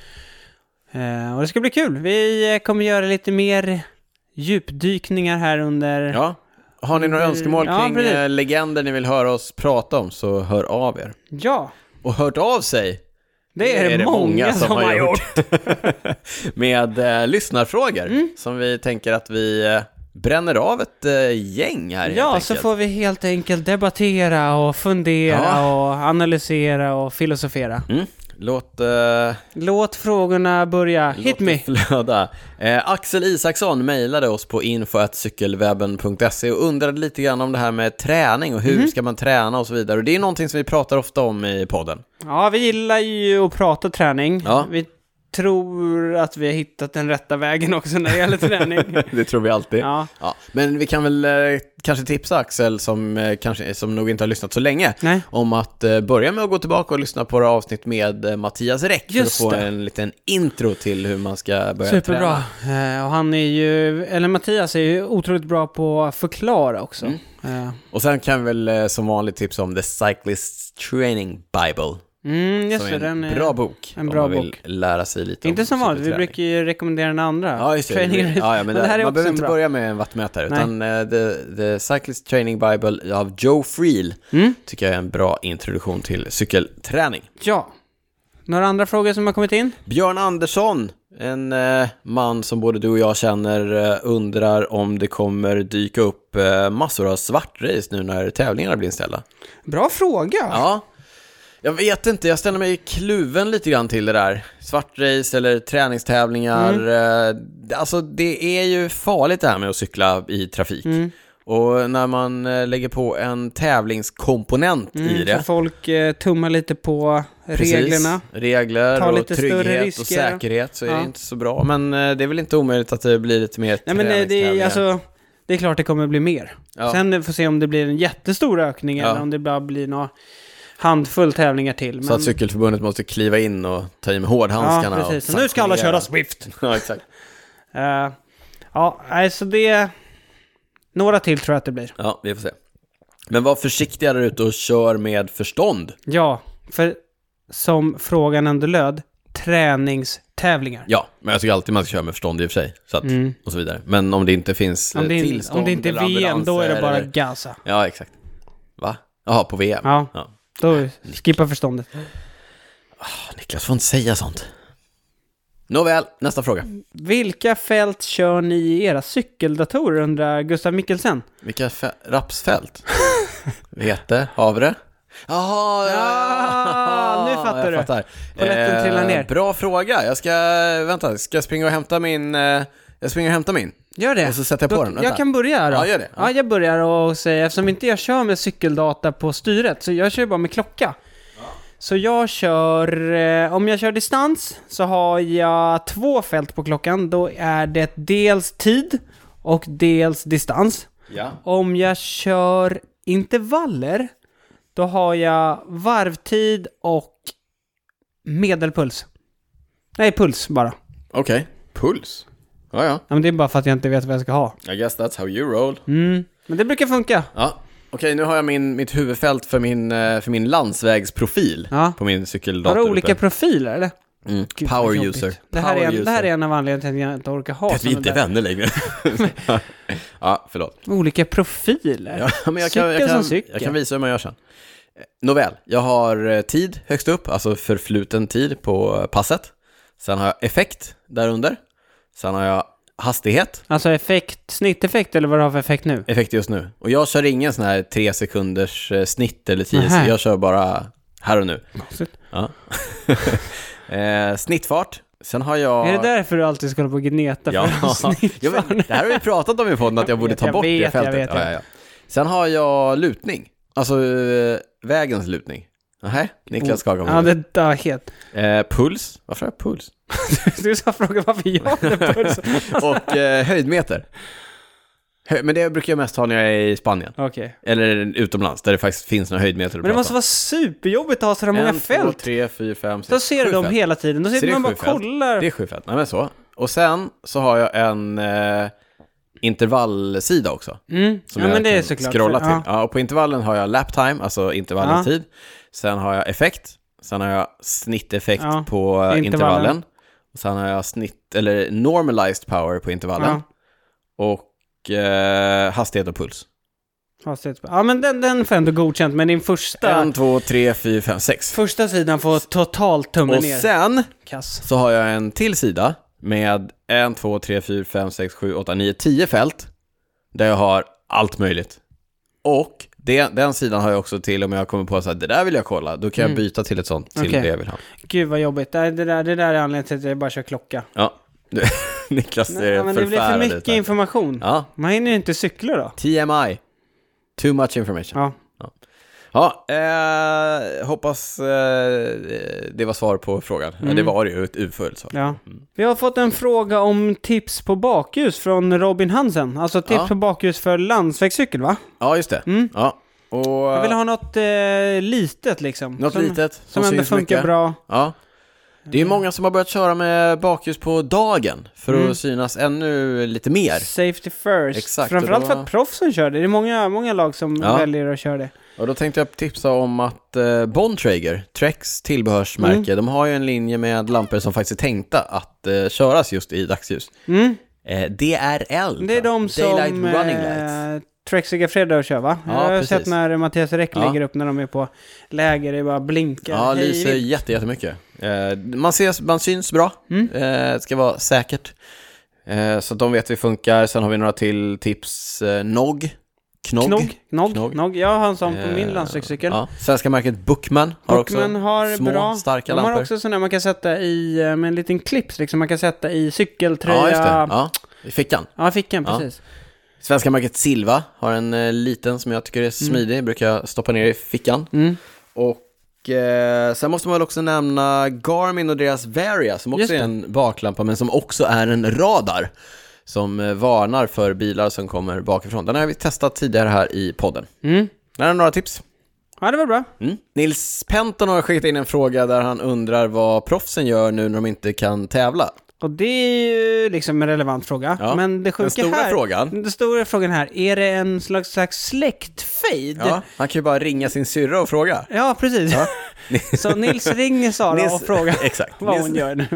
B: Eh, och det ska bli kul. Vi eh, kommer göra lite mer djupdykningar här under...
A: Ja. Har ni några
B: Mm,
A: önskemål
B: ja,
A: kring
B: precis.
A: eh, legender ni vill höra oss prata om så hör av er.
B: Ja,
A: Och hört av sig
B: det är, det många, som, har gjort.
A: med eh, lyssnarfrågor
B: Mm.
A: som vi tänker att vi eh, bränner av ett eh, gäng här helt
B: Ja,
A: enkelt.
B: så får vi helt enkelt debattera och fundera och analysera och filosofera.
A: Mm. Låt... Eh...
B: Låt frågorna börja. Hit
A: Låt
B: me!
A: det Flöda. Eh, Axel Isaksson mejlade oss på info.cykelwebben.se och undrade lite grann om det här med träning och hur
B: Mm-hmm.
A: ska man träna och så vidare. Och det är någonting som vi pratar ofta om i podden.
B: Ja, vi gillar ju att prata träning.
A: Ja.
B: Vi tror att vi har hittat den rätta vägen också när det gäller träning.
A: Det tror vi alltid. Ja.
B: Ja.
A: men vi kan väl eh, kanske tipsa Axel, som, eh, kanske, som nog inte har lyssnat så länge,
B: Nej.
A: om att eh, börja med att gå tillbaka och lyssna på våra avsnitt med eh, Mattias Räck
B: Just
A: för att få
B: det.
A: en liten intro till hur man ska börja
B: Superbra.
A: träna.
B: Eh, och han är ju, eller Mattias är ju otroligt bra på att förklara också.
A: Mm.
B: Eh,
A: Och sen kan vi väl eh, som vanligt tipsa om The Cyclist Training Bible.
B: mm, just
A: Som
B: det,
A: är en
B: den är...
A: bra bok.
B: en
A: om
B: bra
A: man vill
B: bok.
A: lära sig lite om
B: Inte som vanligt, vi
A: cykelträning.
B: brukar ju rekommendera den andra.
A: Ja, just det.
B: Training Race.
A: ja, ja, men det,
B: det här är
A: man
B: också
A: behöver
B: en
A: inte
B: bra.
A: börja med en vattmätare,
B: Nej.
A: utan eh, the, the Cyclist Training Bible av Joe Friel
B: Mm?
A: tycker jag är en bra introduktion till cykelträning.
B: Ja. Några andra frågor som har kommit in?
A: Björn Andersson, en eh, man som både du och jag känner, eh, undrar om det kommer dyka upp eh, massor av svartrace nu när tävlingarna blir inställda.
B: Bra fråga!
A: Ja. Jag vet inte, jag ställer mig kluven lite grann till det där. Svartrace eller träningstävlingar.
B: Mm.
A: eh, Alltså det är ju farligt det här med att cykla i trafik.
B: Mm.
A: Och när man eh, lägger på en tävlingskomponent i
B: Mm,
A: det.
B: för folk eh, tummar lite på
A: Precis.
B: reglerna.
A: Regler
B: Ta
A: och
B: lite större
A: trygghet och
B: risker.
A: säkerhet så är
B: Ja.
A: det inte så bra. Men eh, det är väl inte omöjligt att det blir lite mer
B: Nej men eh, det är,
A: träningstävlingar.
B: alltså, det är klart det kommer bli mer.
A: Ja.
B: Sen eh, får vi se om det blir en jättestor ökning
A: Ja.
B: eller om det bara blir några handfull tävlingar till. Men...
A: Så att Cykelförbundet måste kliva in och ta i med
B: ja,
A: hårdhandskarna. och
B: precis. Så nu ska alla
A: sanktionera.
B: köra Swift.
A: Ja, exakt.
B: Eh, ja, nej, så det... Några till tror jag att det blir.
A: Ja, vi får se. Men var försiktiga där ute och kör med förstånd.
B: Ja, för som frågan ändå löd, träningstävlingar.
A: Ja, men jag tycker alltid man ska köra med förstånd i och för sig. Så att,
B: Mm.
A: Och så vidare. Men om det inte finns
B: Om,
A: eh,
B: det, är-
A: tillstånd
B: om det inte
A: eller
B: är VM, då är det
A: ambulanser
B: bara
A: eller-
B: Gaza.
A: Ja, exakt. Va? Jaha, på VM?
B: Ja, då skippa förståndet.
A: Niklas får inte säga sånt. Nåväl, nästa fråga.
B: Vilka fält kör ni i era cykeldatorer undrar Gustav Mikkelsen?
A: Vilka fä- rapsfält? Vete? Havre? Jaha, ja,
B: Ja, nu fattar
A: jag
B: du.
A: Fattar. Eh,
B: Polletten trillar ner.
A: Bra fråga. Jag ska, vänta, ska jag springa och hämta min, eh, jag springer och hämtar min.
B: Gör det.
A: Och så sätter jag på
B: Då,
A: den, vänta.
B: jag kan börja då.
A: Ja, gör det.
B: Ja. jag börjar och säger, eftersom inte jag kör med cykeldata på styret, så jag kör bara med klocka. Så jag kör, eh, om jag kör distans så har jag två fält på klockan. Då är det dels tid och dels distans.
A: Ja.
B: Om jag kör intervaller, då har jag varvtid och medelpuls. Nej, puls bara.
A: Okej. Puls? Ja, ja.
B: Ja, men det är bara för att jag inte vet vad jag ska ha.
A: I guess that's how you roll.
B: Mm. Men det brukar funka.
A: Ja. Okej, nu har jag min, mitt huvudfält för min, eh, för min landsvägsprofil
B: Ja.
A: på min cykeldator.
B: Har du olika
A: uppe.
B: profiler eller?
A: mm.
B: Gud, vad
A: Power
B: jobbigt.
A: user.
B: Det här,
A: Power
B: är en, det här
A: user.
B: är en av anledningarna till att jag inte orkar ha
A: Att vi
B: såna
A: inte är
B: där.
A: vänner längre. ja, förlåt.
B: Olika profiler.
A: Ja, men jag kan,
B: Cykel
A: jag, kan,
B: som cykel.
A: jag kan visa hur man gör sen. Eh, Nåväl, jag har eh, tid högst upp, alltså förfluten tid på eh, passet. Sen har jag effekt där under. Sen har jag hastighet,
B: Alltså effekt, snitteffekt eller vad du har för effekt nu?
A: effekt just nu. Och jag kör ingen sån här tre sekunders eh, snitt eller tio,
B: Nähä.
A: jag kör bara här och nu. Ja. eh, snittfart, sen har jag...
B: Är det därför du alltid ska hålla på och gneta
A: Ja.
B: för snittfart?
A: Ja, men, det här har vi pratat om i podden, att jag
B: Jag
A: borde
B: vet,
A: ta
B: jag
A: bort
B: vet,
A: det
B: jag
A: fältet.
B: vet, jag
A: ja, ja, ja. Sen har jag lutning, alltså eh, vägens lutning. Nej, Niklas skakar på
B: Mm. Ja, det där helt.
A: Eh, puls, varför har jag puls?
B: Du sa frågan varför jag hade puls.
A: Och eh, höjdmeter. Hö- men det brukar jag mest ha när jag är i Spanien.
B: Okej.
A: Eller utomlands, där det faktiskt finns några höjdmeter att
B: Men det
A: prata
B: måste
A: om.
B: vara superjobbigt att ha sådär många
A: En, två,
B: fält.
A: tre, fyra, fem, sex,
B: Då ser du
A: sju
B: dem
A: fält.
B: hela tiden. Då
A: Så det
B: sitter
A: är
B: man bara
A: sju fält.
B: kollar.
A: Det är sju fält, nej men så. Och sen så har jag en eh, intervallsida också.
B: Mm.
A: Som
B: ja,
A: jag
B: men det
A: kan
B: är såklart.
A: scrolla till.
B: Ja.
A: Ja. och på intervallen har jag lap time, alltså intervallens
B: Ja.
A: tid. Sen har jag effekt. Sen har jag snitteffekt
B: Ja,
A: på eh,
B: intervallen.
A: intervallen. Sen har jag snitt, eller normalized power på intervallen.
B: Ja.
A: Och eh, hastighet och puls.
B: Hastighetsbra. Ja, men den, den får jag ändå godkänt. Men din första,
A: En, två, tre, fyra, fem, sex.
B: första sidan får totalt tummen
A: Och
B: ner.
A: sen
B: Kass.
A: så har jag en till sida med en, två, tre, fyra, fem, sex, sju, åtta, nio, tio fält. Där jag har allt möjligt. Och det, den sidan har jag också till om jag kommer på att det där vill jag kolla. Då kan jag byta till ett sånt, till
B: Mm. Okej.
A: det jag vill ha.
B: Gud vad jobbigt. Nej, Det där, det där är anledningen till att jag bara kör klocka.
A: Ja, Du- Niklas ser
B: Ja, men det blir för
A: förfärad
B: mycket
A: ut. här.
B: information.
A: Ja,
B: Man hinner ju inte cykla då.
A: TMI. Too much information.
B: Ja.
A: Ja, eh, hoppas eh, det var svar på frågan. Ja, det var det ju, ett utfullt svar.
B: Mm. Ja. Vi har fått en fråga om tips på bakljus från Robin Hansen. Alltså tips
A: Ja.
B: på bakljus för landsvägscykel va?
A: Ja, just det. Ja. Och,
B: Mm. Jag vill ha något eh, litet liksom.
A: Något
B: som,
A: litet som
B: Som ändå
A: syns
B: funkar
A: mycket.
B: bra.
A: Ja. Det
B: Mm.
A: är ju många som har börjat köra med bakljus på dagen för
B: Mm.
A: att synas ännu lite mer.
B: Safety first.
A: Exakt,
B: Framförallt
A: och då-
B: för att proffsen kör det. Det är många, många lag som
A: Ja.
B: väljer att köra det.
A: Och då tänkte jag tipsa om att eh, Bontrager, Treks tillbehörsmärke,
B: Mm.
A: de har ju en linje med lampor som faktiskt är tänkta att eh, köras just i dagsljus.
B: Mm.
A: Eh, DRL,
B: Det är de som
A: Daylight Running Lights.
B: eh, Trexiga Fredag kör va?
A: Ja,
B: jag har
A: precis.
B: sett när Mattias Räck
A: Ja.
B: lägger upp när de är på läger, det är bara blinkar.
A: Ja,
B: Hej,
A: lyser
B: vilt.
A: jätte, jättemycket. Eh, man, ses, man syns bra,
B: Mm.
A: eh, ska vara säkert. Eh, så att de vet vi funkar. Sen har vi några till tips. Eh, Nog, Knog.
B: Knog, knog,
A: Knog.
B: knog. Jag har en sån på min
A: Eh,
B: landsvägscykel.
A: Ja. Svenska märket Bookman har
B: Bookman
A: också
B: har
A: små
B: bra.
A: starka
B: de
A: lampor.
B: har också sådana man kan sätta i eh, med en liten clips liksom. Man kan sätta i cykeltröja.
A: ja, just det. Ja, i fickan.
B: Ja, fickan,
A: Ja.
B: precis.
A: Svenska märket Silva har en eh, liten som jag tycker är smidig, brukar jag stoppa ner i fickan.
B: Mm.
A: Och eh, sen måste man väl också nämna Garmin och deras Varia som
B: Just
A: också är
B: det.
A: en baklampa men som också är en radar. Som eh, varnar för bilar som kommer bakifrån. Den har vi testat tidigare här i podden.
B: Mm.
A: Där har några tips.
B: Ja, det var bra.
A: Mm. Nils Penton har skickat in en fråga där han undrar vad proffsen gör nu när de inte kan tävla.
B: Och det är ju liksom en relevant fråga.
A: Ja,
B: Men det sjuka
A: Den stora
B: här,
A: frågan.
B: Den stora frågan här, är det en slags, slags släktfejd?
A: Ja, han kan ju bara ringa sin syrra och fråga.
B: Ja, precis. Så Nils ringer Sara och frågar
A: Exakt.
B: vad
A: Nils-
B: hon gör nu.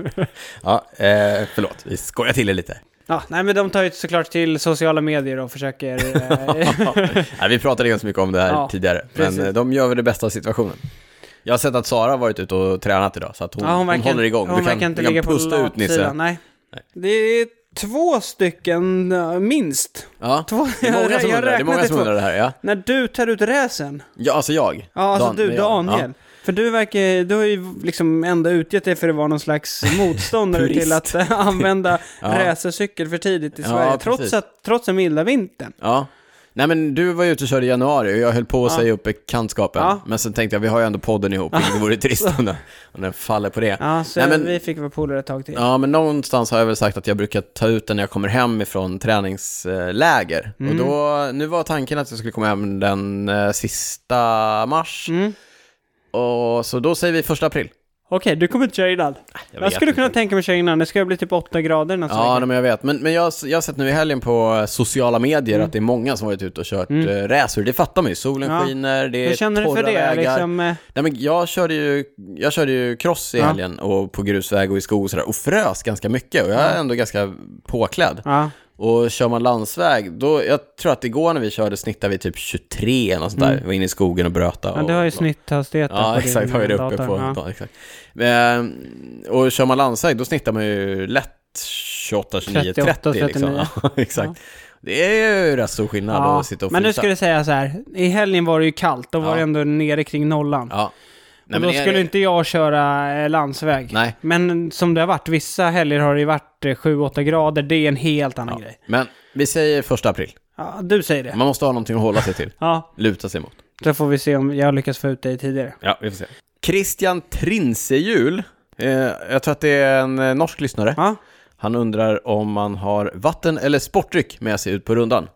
A: Ja, eh, förlåt, vi skojar till det lite.
B: Ja, nej, men de tar ju såklart till sociala medier och försöker... eh,
A: Nej, vi pratade ganska mycket om det här
B: Ja,
A: tidigare,
B: precis.
A: men eh, de gör väl det bästa av situationen. Jag har sett att Sara har varit ute och tränat idag, så att hon,
B: ja,
A: hon,
B: verkar-
A: håller igång.
B: Hon
A: du kan,
B: verkar inte
A: du kan
B: ligga på
A: pusta ut
B: latsidan,
A: Nisse.
B: Nej. Det är två stycken eh, minst.
A: Ja.
B: Två,
A: Det är många som undrar, det är många
B: räknade
A: som undrar det här. Ja,
B: När du tar ut räsen,
A: ja alltså jag.
B: ja alltså
A: Dan-
B: du
A: jag.
B: Daniel. För du verkar, du har ju liksom ändå utgett dig för att vara någon slags motståndare
A: Purist.
B: till att eh, använda
A: Ja.
B: racercykel för tidigt i
A: Ja,
B: Sverige.
A: precis.
B: Trots, att, trots den milda vintern.
A: Ja. ja. Nej men du var ju ute och körde i januari och jag höll på att säga upp bekantskapen.
B: Ja.
A: Men sen tänkte jag, vi har ju ändå podden ihop, vilket vore trist om den, om den faller på det.
B: Ja, så
A: Nej, men-
B: vi fick vara polare ett tag till.
A: Ja, men någonstans har jag väl sagt att jag brukar ta ut den när jag kommer hem ifrån träningsläger.
B: Mm.
A: Och då, nu var tanken att jag skulle komma hem den eh, sista mars.
B: Mm.
A: Och, så då säger vi första april.
B: Okej, du kommer inte köra innan.
A: Jag
B: Jag
A: vet
B: skulle
A: inte.
B: kunna tänka mig att köra innan. Det ska bli typ 8 grader nästa
A: Ja,
B: vecka.
A: nej, men jag vet. Men, men jag, jag har sett nu i helgen på eh, sociala medier att det är många som varit ute och kört mm. racer. Det fattar man ju. Solen
B: Mm. Ja.
A: skiner, det är
B: Hur känner du
A: torra
B: för det?
A: vägar.
B: Liksom, eh,
A: Nej, men jag, körde ju, jag körde ju cross i
B: Ja.
A: helgen och på grusväg och i skog och sådär och frös ganska mycket och jag är ändå ganska påklädd.
B: ja.
A: Och kör man landsväg, då, jag tror att igår när vi körde snittade vi typ 23 eller något sånt där. Vi var inne i skogen och bröta.
B: Mm. ja,
A: och,
B: du har ju snitthastigheten på
A: Ja,
B: din
A: exakt. Har vi det uppe
B: dator.
A: på.
B: Ja.
A: Ja. exakt. Men, och kör man landsväg, då snittar man ju lätt 28, 29, 30,
B: 38,
A: liksom. Ja, exakt. Det är ju rätt stor skillnad
B: Ja.
A: att sitta och
B: Men nu
A: frysa.
B: ska du säga så här. I helgen var det ju kallt. Då
A: Ja.
B: var det ändå nere kring nollan.
A: Ja. Nej,
B: och Alltså, då
A: men det är-
B: skulle inte jag köra eh, landsväg.
A: Nej.
B: Men som det har varit, vissa helger har det ju varit eh, 7-8 grader. Det är en helt annan grej.
A: Men vi säger första april.
B: Ja, du säger det.
A: Man måste ha någonting att hålla sig till,
B: Ja,
A: luta sig mot.
B: så får vi se om jag lyckas få ut dig tidigare.
A: Ja, vi får se. Christian Trinsehjul, eh, jag tror att det är en eh, norsk lyssnare.
B: Ja.
A: Han undrar om man har vatten eller sportdryck med sig ut på rundan.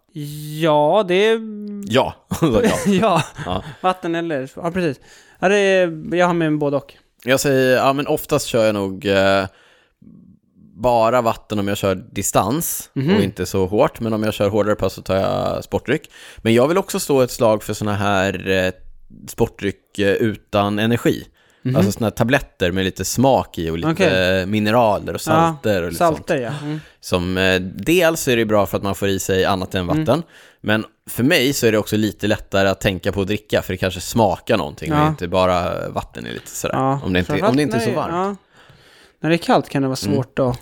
B: Ja, det är...
A: Ja, Så ja.
B: ja,
A: Ja.
B: vatten eller... Ja, precis. Ja, det är... Jag har med mig både och.
A: Jag säger, ja men oftast kör jag nog eh, bara vatten om jag kör distans och inte så hårt. Men om jag kör hårdare pass så tar jag sportdryck. Men jag vill också slå ett slag för sådana här eh, sportdryck eh, utan energi. Alltså sådana här tabletter med lite smak i och lite
B: Okej.
A: mineraler och salter och lite sånt.
B: Salter, ja. Mm.
A: Som, eh, dels är det bra för att man får i sig annat än vatten,
B: Mm.
A: men för mig så är det också lite lättare att tänka på att dricka, för det kanske smakar någonting och
B: Ja.
A: inte bara vatten är lite sådär.
B: Ja.
A: Om, det inte,
B: Framförallt
A: om det inte är så
B: när
A: varmt. Mm.
B: ja. När det är kallt kan det vara svårt att...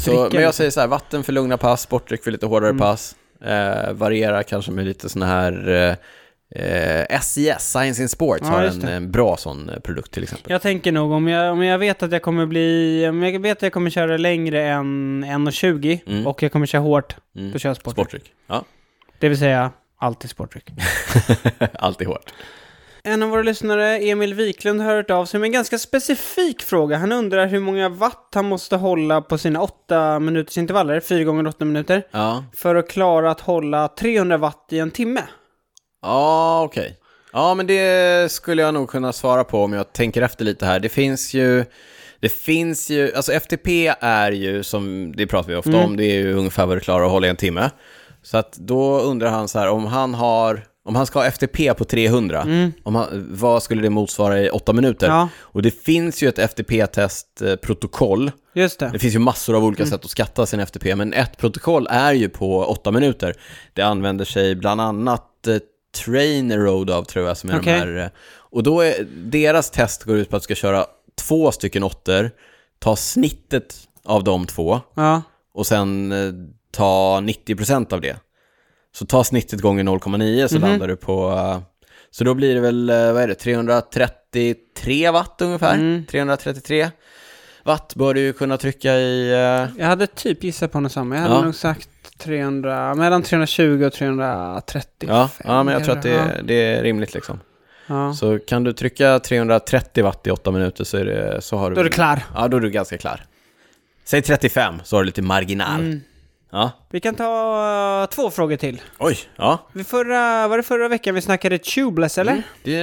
A: så,
B: dricka
A: men jag
B: lite. Mm.
A: säger så här, vatten för lugna pass, sportdryck för lite hårdare pass, eh, variera kanske med lite sådana här eh, Eh, SIS, Science in Sports,
B: Ja,
A: har
B: just
A: en
B: det.
A: eh, bra sån eh, produkt till exempel.
B: Typ. Jag tänker nog om jag, om jag vet att jag kommer bli, om jag vet att jag kommer köra längre än 1,20
A: Mm.
B: och jag kommer köra hårt,
A: Mm.
B: då kör jag sportdryck.
A: Sportdryck. Ja,
B: Det vill säga alltid sportdryck.
A: alltid hårt.
B: En av våra lyssnare, Emil Wiklund, har hört av sig med en ganska specifik fråga. Han undrar hur många watt han måste hålla på sina åtta minuters intervaller, fyra gånger åtta minuter,
A: Ja,
B: för att klara att hålla 300 watt i en timme.
A: ja okej. Ja, men det skulle jag nog kunna svara på om jag tänker efter lite här. Det finns ju... Det finns ju, alltså FTP är ju, som det pratar vi ofta om, det är ju ungefär vad du klarar att hålla i en timme. Så att då undrar han så här, om han har, om han ska ha FTP på 300, om han, vad skulle det motsvara i åtta minuter?
B: Ja.
A: Och det finns ju ett eh, FTP-testprotokoll,
B: Just det.
A: Det finns ju massor av olika sätt att skatta sin FTP, men ett protokoll är ju på åtta minuter. Det använder sig bland annat eh, Traineroad av, tror jag, som är
B: Okej.
A: de här. eh, Och då är, deras test går ut på att du ska köra två stycken åttor, ta snittet av de två
B: Ja.
A: och sen eh, ta 90% av det. Så ta snittet gånger 0,9
B: Mhm.
A: så landar du på... eh, Så då blir det väl, eh, vad är det, 333 watt ungefär?
B: Mm.
A: 333 watt bör du ju kunna trycka i... eh,
B: Jag hade typ gissat på något samma. Jag hade
A: Ja.
B: nog sagt 300, mellan 320 och 330.
A: Ja, ja, men jag tror att det,
B: Ja.
A: är- det är rimligt liksom.
B: Ja.
A: Så kan du trycka 330 watt i 8 minuter så, är det, så har du...
B: Då är du klar.
A: Ja, då är du ganska klar. Säg 35 så har du lite marginal.
B: Mm.
A: Ja.
B: Vi kan ta eh, två frågor till.
A: Oj, ja.
B: Vi förra, var det förra veckan vi snackade tubeless, eller?
A: Det,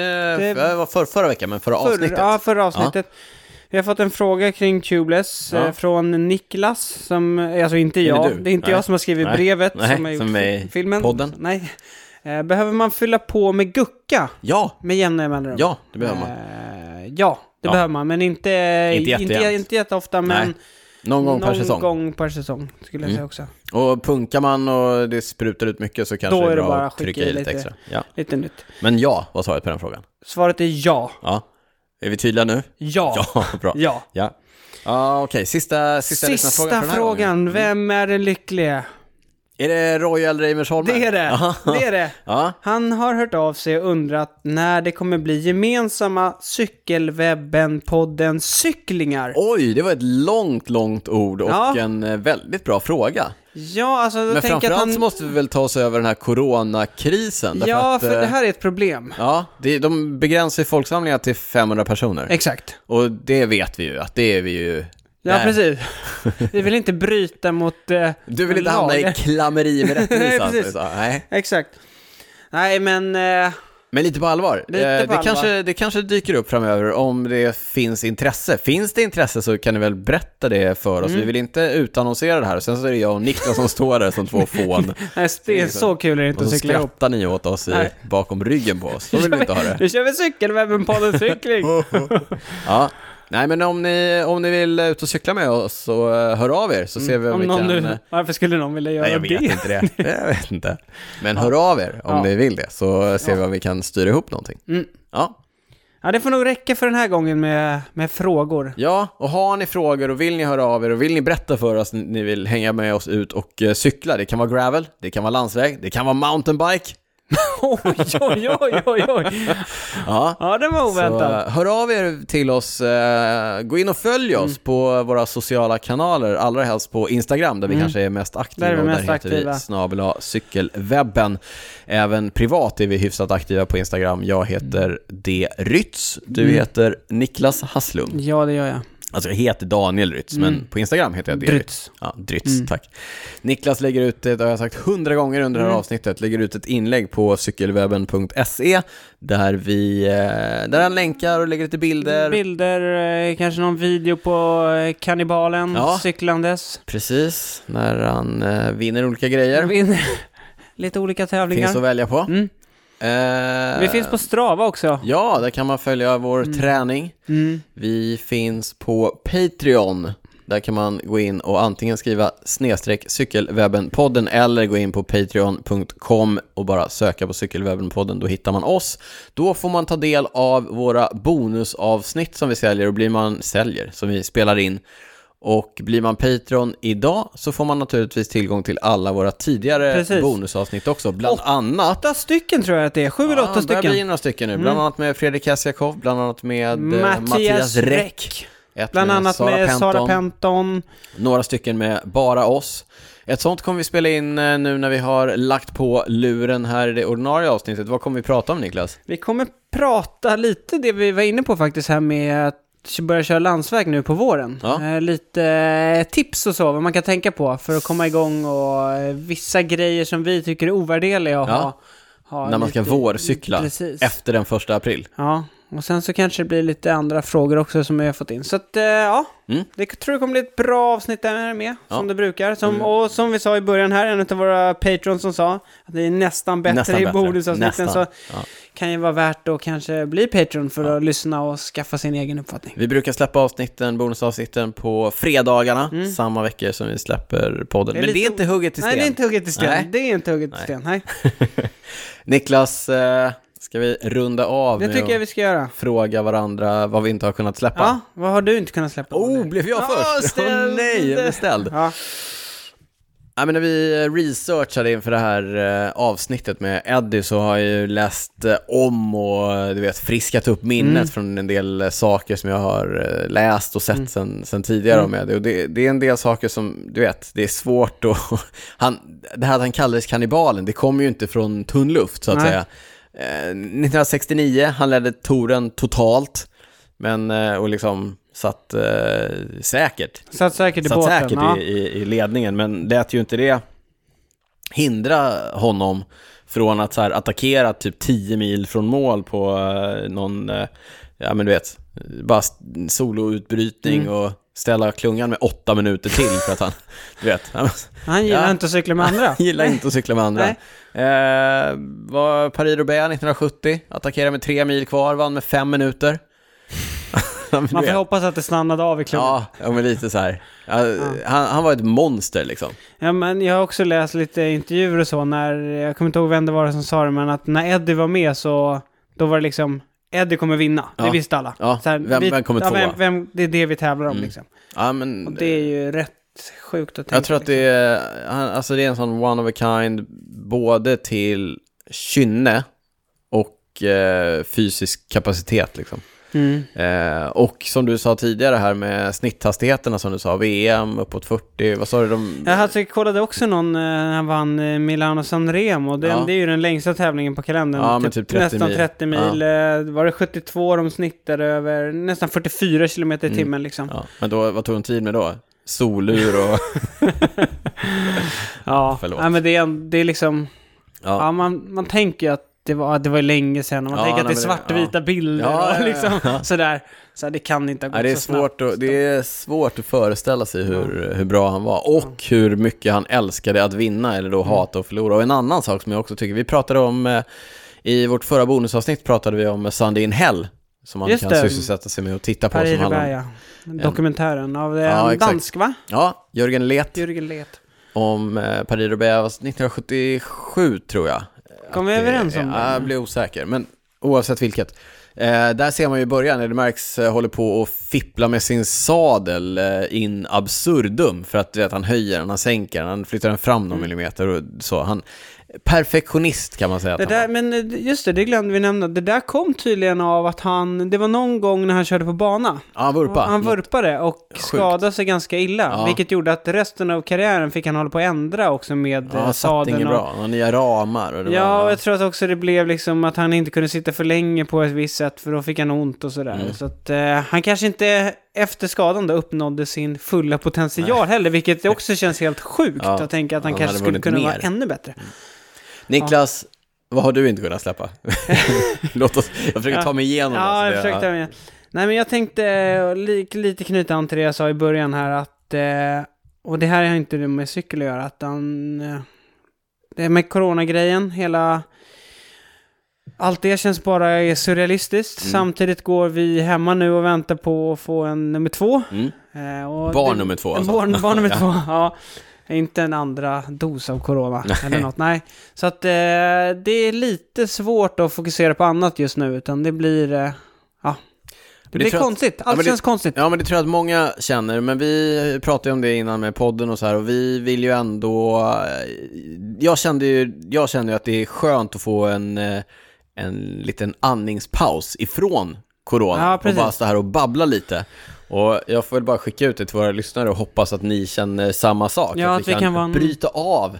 A: det var för, förra veckan, men förra
B: Förr-
A: Mm. avsnittet.
B: Ja, Mm. förra avsnittet. Vi har fått en fråga kring Tubeless
A: Ja.
B: eh, från Niklas, som, eh, alltså inte jag,
A: du?
B: det är inte
A: Nej.
B: jag som har skrivit
A: Nej.
B: brevet
A: Nej,
B: som har gjort
A: som är i
B: fi- filmen.
A: podden.
B: Nej. Eh, Behöver man fylla på med gucka
A: Ja,
B: med jämna mellanrum?
A: ja, det behöver man.
B: Eh, ja, det
A: Ja.
B: behöver man, men inte,
A: Inte
B: inte,
A: jättejämt.
B: inte jätteofta, men
A: Nej, Någon gång per säsong. Mm.
B: gång per säsong skulle jag säga också.
A: Och punkar man och det sprutar ut mycket så kanske
B: Då
A: det
B: är
A: är
B: det
A: bra
B: bara
A: att
B: skicka
A: trycka
B: i
A: i lite
B: lite.
A: extra. Ja.
B: Lite nytt.
A: Men ja, var svaret på den frågan.
B: Svaret är ja.
A: Ja. Är vi tydliga nu?
B: Ja.
A: Ja, bra.
B: Ja.
A: Ja. Ja, okej. Sista, sista,
B: Sista,
A: lyssnarfrågan för den här gången. Mm.
B: frågan, vem är den lyckliga?
A: Är det Royal Reimersholmer?
B: Det är det, det är det.
A: Ja.
B: Han har hört av sig och undrat när det kommer bli gemensamma Cykelwebben-podden Cyklingar.
A: Oj, det var ett långt, långt ord och
B: Ja.
A: en eh, väldigt bra fråga.
B: Ja, alltså jag
A: Men
B: tänker
A: framförallt
B: att han...
A: så måste vi väl ta oss över den här coronakrisen. därför
B: ja,
A: att,
B: för det
A: eh,
B: här är ett problem.
A: Ja, det, de begränsar ju folksamlingar till 500 personer.
B: Exakt.
A: Och det vet vi ju, att det är vi ju...
B: Ja,
A: där.
B: precis. Vi vill inte bryta mot... Eh,
A: Du vill inte hamna i
B: lagar.
A: klammeri med
B: Nej,
A: rättvisan.
B: precis.
A: så, nej.
B: Exakt. Nej, men... Eh,
A: Men lite på allvar.
B: Lite
A: Eh,
B: på
A: det,
B: allvar.
A: Kanske, det kanske dyker upp framöver om det finns intresse. Finns det intresse så kan ni väl berätta det för oss.
B: Mm.
A: Vi vill inte utannonsera det här. Sen så är det jag och Niklas som står där som två fån.
B: nej, det är så kul är det inte
A: Och
B: att
A: så
B: cykla ihop.
A: skrattar ni åt oss i,
B: Nej.
A: bakom ryggen på oss. Så vill vi inte ha det.
B: Nu kör vi Cykelwebben-podden Cykling.
A: Ja. Nej men om ni, om ni vill ut och cykla med oss så eh, hör av er så ser vi om,
B: Mm.
A: vi
B: Om någon
A: kan... eh,
B: nu, varför skulle någon vilja göra
A: Nej, jag vet
B: det?
A: inte det. Jag vet inte. Men hör av er om
B: Ja.
A: ni vill det så ser vi om vi kan styra ihop någonting.
B: Mm.
A: Ja.
B: Ja, det får nog räcka för den här gången med, med frågor.
A: Ja, och har ni frågor och vill ni höra av er och vill ni berätta för oss att ni vill hänga med oss ut och eh, cykla, det kan vara gravel, det kan vara landsväg, det kan vara mountainbike.
B: Oj, oj, oj, oj, oj.
A: Ja.
B: Ja, den var
A: Så
B: oväntad.
A: eh, hör av er till oss, eh, gå in och följ
B: Mm.
A: oss på våra sociala kanaler, allra helst på Instagram där vi kanske är mest aktiva.
B: Mm. Där är vi
A: och
B: mest
A: där heter
B: aktiva.
A: vi snabel cykelwebben. Även privat är vi hyfsat aktiva på Instagram. Jag heter D. Rytz, du
B: Mm.
A: heter Niklas Hasslum.
B: Ja, det gör jag.
A: Alltså jag heter Daniel Rytz, men på Instagram heter jag D.
B: Mm. Drytz.
A: Rytz. Ja, Drytz,
B: Mm.
A: tack. Niklas lägger ut, det har jag sagt hundra gånger under
B: Mm.
A: det här avsnittet, lägger ut ett inlägg på cykelwebben.se där vi, eh, där han länkar och lägger lite bilder.
B: Bilder, eh, kanske någon video på eh, kannibalen
A: Ja.
B: cyklandes.
A: Precis, när han eh, vinner olika grejer.
B: Vinner lite olika tävlingar.
A: Finns att välja på.
B: Mm.
A: Eh,
B: Vi finns på Strava också.
A: Ja, där kan man följa vår träning.
B: Mm.
A: Vi finns på Patreon. Där kan man gå in och antingen skriva snedstreck cykelwebbenpodden eller gå in på patreon.com och bara söka på cykelwebbenpodden. Då hittar man oss. Då får man ta del av våra bonusavsnitt som vi säljer och blir man säljer, som vi spelar in. Och blir man Patreon idag så får man naturligtvis tillgång till alla våra tidigare
B: Precis.
A: bonusavsnitt också. Bland
B: Och-
A: annat...
B: Åtta stycken tror jag att det är, sju eller åtta
A: det börjar bli
B: stycken. Mm.
A: några stycken nu. Bland annat med Fredrik Kassiakov, bland annat med eh,
B: Mattias
A: Mattias
B: Räck.
A: Räck. Ett
B: Bland annat med Sara Penton.
A: Några stycken med bara oss. Ett sånt kommer vi spela in eh, nu när vi har lagt på luren här i det ordinarie avsnittet. Vad kommer vi prata om Niklas?
B: Vi kommer prata lite det vi var inne på faktiskt här med att börja köra landsväg nu på våren.
A: Ja.
B: Eh, Lite eh, tips och så, vad man kan tänka på för att komma igång och eh, vissa grejer som vi tycker är ovärderliga att
A: Ja.
B: ha, ha.
A: när man
B: lite-
A: ska vårcykla
B: Precis.
A: efter den första april.
B: Ja, och sen så kanske det blir lite andra frågor också som vi har fått in. Så att, eh, ja,
A: Mm.
B: det tror jag kommer bli ett bra avsnitt där med,
A: Ja. Mm.
B: som det brukar. Som, och som vi sa i början här, en av våra patrons som sa att det är nästan bättre
A: Nästan
B: i
A: bättre.
B: bonusavsnitten.
A: Nästan.
B: Så
A: Ja.
B: kan ju vara värt att kanske bli patron för att lyssna och skaffa sin egen uppfattning.
A: Vi brukar släppa avsnitten, bonusavsnitten på fredagarna, samma veckor som vi släpper podden.
B: Mm. Det
A: Men
B: är lite
A: det är inte hugget i sten.
B: Nej, det är inte hugget i sten.
A: Nej.
B: Det är inte hugget i sten. Nej.
A: Niklas, eh, ska vi runda av
B: Det
A: med
B: tycker jag
A: att
B: vi ska göra.
A: fråga varandra vad vi inte har kunnat släppa?
B: Ja, vad har du inte kunnat släppa?
A: Oh, blev jag
B: Ja,
A: först? Åh
B: ställ-
A: nej, jag blev ställd.
B: Ja,
A: Ja, men när vi eh, researchade inför det här eh, avsnittet med Eddie så har jag ju läst eh, om och eh, du vet, friskat upp minnet från en del eh, saker som jag har eh, läst och sett sen, sen tidigare om Eddie. Och det, det är en del saker som, du vet, det är svårt att... Han, det här att han kallades kannibalen, det kommer ju inte från tunn luft så att
B: Nej.
A: säga. Eh, 1969, han ledde touren totalt, men, eh, och liksom satt eh, säkert
B: satt säkert i
A: satt
B: båten.
A: säkert
B: ja.
A: i, i, i ledningen, men lät ju inte det hindra honom från att så här, attackera typ 10 mil från mål på eh, någon, eh, ja men du vet, bara st- soloutbrytning
B: Mm.
A: och ställa klungan med åtta minuter till för att han, du vet, han
B: Han gillar
A: Ja.
B: inte att cykla med andra.
A: gillar inte att cykla med andra. Eh, var Paris-Roubaix 1970, attackerade med tre mil kvar, vann med fem minuter. Ja, men du
B: Man får
A: vet.
B: hoppas att det stannade av i klubben. Ja.
A: Ja, ja, men lite så här. Ja, Han, han var ett monster liksom.
B: men jag har också läst lite intervjuer och så när, jag kommer inte ihåg vem det var som sa det, men att när Eddie var med så, då var det liksom, Eddie kommer vinna, det
A: Ja.
B: visste alla.
A: Ja,
B: Så här,
A: vem-
B: vi-
A: vem kommer
B: ja,
A: tvåa?
B: vem, vem, Det är det vi tävlar om liksom.
A: Ja, men
B: Och det är ju rätt sjukt att tänka.
A: jag tror att det är, han- alltså det är en sån one of a kind både till kynne och eh, fysisk kapacitet. Liksom.
B: Mm.
A: Eh, och som du sa tidigare här med snitthastigheterna som du sa, VM uppåt 40, vad sa du? De,
B: Jag hade, kollade också någon eh, när han vann eh, Milano Sanremo. Den,
A: Ja.
B: Det är ju den längsta tävlingen på kalendern.
A: Ja, men typ 30
B: nästan
A: mil.
B: 30 mil. eh, Var det 72 de snittade över? Nästan 44 kilometer i timmen liksom.
A: Mm. ja, men då, vad tog de tid med då? Solur och...
B: Ja,
A: Förlåt.
B: nej, men det är, det är liksom, ja.
A: Ja.
B: man, man tänker ju att det var, det var länge sedan och man
A: Ja,
B: tänker att det
A: nej,
B: är
A: men det-
B: svartvita bilder
A: Ja, ja,
B: och
A: ja,
B: liksom sådär. Så här, det kan inte ha gått
A: Nej, det, är
B: så snabbt.
A: svårt att, det är svårt att föreställa sig hur, hur bra han var och hur mycket han älskade att vinna eller
B: Mm.
A: då hata att förlora. Och en annan sak som jag också tycker, vi pratade om, eh, i vårt förra bonusavsnitt pratade vi om Sunday in Hell, som man
B: Just
A: kan
B: det.
A: sysselsätta sig med och titta på. Som
B: Paris
A: handlar om,
B: ja. Dokumentären av eh,
A: Ja,
B: en
A: exakt.
B: dansk va?
A: ja, Jörgen Leth
B: Jürgen Leth.
A: om eh, Paris Roubaix 1977 tror jag.
B: Kom vi
A: Att
B: överens om det?
A: ja, Jag blir osäker, men oavsett vilket. Eh, där ser man ju i början, Eddie Merckx eh, håller på och fippla med sin sadel eh, in absurdum för att du vet, han höjer den, han sänker den, han flyttar den fram
B: Mm.
A: någon millimeter och så. Han, perfektionist kan man säga
B: Det
A: att han
B: där,
A: var.
B: men eh, just det, det glömde vi nämna. Det där kom tydligen av att han, det var någon gång när han körde på bana.
A: Ja, han vurpa.
B: Han vurpade och skadade sig ganska illa,
A: Ja.
B: vilket gjorde att resten av karriären fick han hålla på att ändra också med
A: ja,
B: eh,
A: han satte
B: sadeln
A: inget
B: och
A: bra, han har nya ramar och det
B: Ja, och
A: var,
B: jag tror att också det blev liksom att han inte kunde sitta för länge på ett visst sätt för då fick han ont och sådär.
A: Mm.
B: Så att eh, han kanske inte efter skadan då uppnådde sin fulla potential heller, vilket också känns helt sjukt
A: Ja,
B: att tänka att han,
A: han
B: kanske
A: hade
B: skulle
A: vunnit
B: kunna
A: mer.
B: vara ännu bättre.
A: Niklas, vad har du inte kunnat släppa? Låt oss, jag försöker ta mig igenom alltså,
B: Ja, jag
A: det-
B: försökte. Men... Nej, men jag tänkte eh, li lite knyta an till det jag sa i början här att, eh, och det här har inte det med cykel att göra, att han, eh, det med coronagrejen, hela, allt det känns bara surrealistiskt.
A: Mm.
B: Samtidigt går vi hemma nu och väntar på att få en nummer två.
A: Mm.
B: Eh, och
A: Barn
B: det-
A: nummer två,
B: en
A: alltså.
B: Barn, barn nummer två, ja. Inte en andra dos av corona eller något, nej. Så att eh, det är lite svårt att fokusera på annat just nu, utan det blir... Eh, ja, Det blir
A: tror jag att-
B: konstigt.
A: Ja,
B: Allt
A: men det-
B: känns konstigt.
A: Ja, men det tror jag att många känner, men vi pratade ju om det innan med podden och så här, och vi vill ju ändå... eh, Jag kände ju, jag kände ju att det är skönt att få en, eh, en liten andningspaus ifrån corona
B: Ja,
A: och
B: precis.
A: bara stå här och babbla lite. Och jag får väl bara skicka ut det till våra lyssnare och hoppas att ni känner samma sak.
B: Ja, att vi kan vara en-
A: bryta av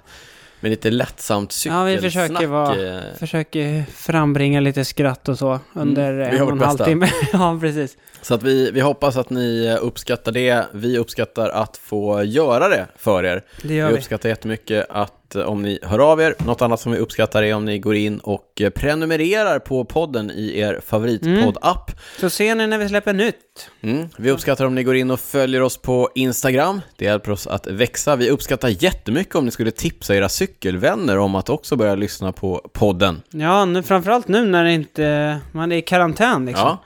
A: med lite lättsamt
B: Ja,
A: cykelsnack.
B: vi försöker vara,
A: eh,
B: försöker frambringa lite skratt och så under
A: Mm. Vi
B: en
A: har
B: och en
A: vårt
B: halv
A: bästa.
B: timme. ja, precis.
A: Så att vi, vi hoppas att ni eh, uppskattar det. Vi uppskattar att få göra det för er.
B: Det gör
A: vi
B: vi.
A: uppskattar jättemycket att eh, om ni hör av er. Något annat som vi uppskattar är om ni går in och eh, prenumererar på podden i er favoritpodd-app.
B: Så ser ni när vi släpper nytt.
A: Mm. Vi uppskattar om ni går in och följer oss på Instagram. Det hjälper oss att växa. Vi uppskattar jättemycket om ni skulle tipsa era cykelvänner om att också börja lyssna på podden.
B: Ja, nu, framförallt nu när det inte, man är i karantän liksom.
A: Ja.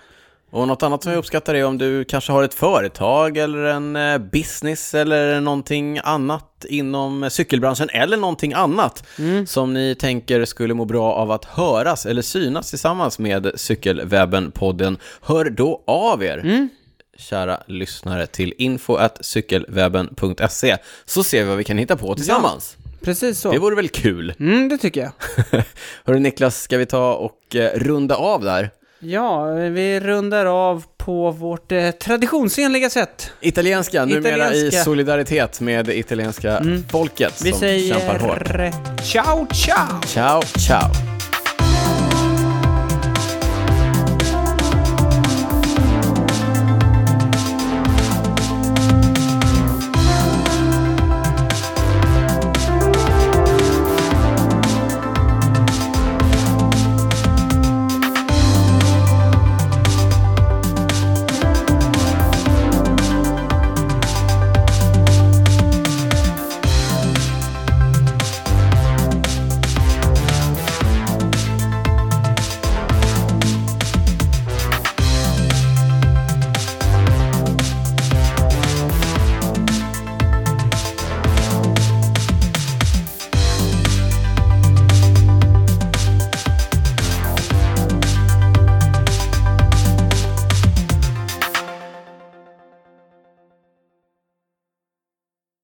A: Och något annat som jag uppskattar är om du kanske har ett företag eller en eh, business eller någonting annat inom cykelbranschen eller någonting annat som ni tänker skulle må bra av att höras eller synas tillsammans med Cykelwebben-podden. Hör då av er, kära lyssnare, till info.cykelwebben.se så ser vi vad vi kan hitta på tillsammans.
B: Precis
A: Det
B: så.
A: vore väl kul?
B: Mm, det tycker jag.
A: Hörru Niklas, ska vi ta och eh, runda av där?
B: Ja, vi rundar av på vårt eh, traditionsenliga sätt.
A: Italienska, numera
B: Italienska. Mm.
A: i solidaritet med det italienska folket
B: Vi
A: som kämpar hårt.
B: säger ciao ciao!
A: Ciao, ciao.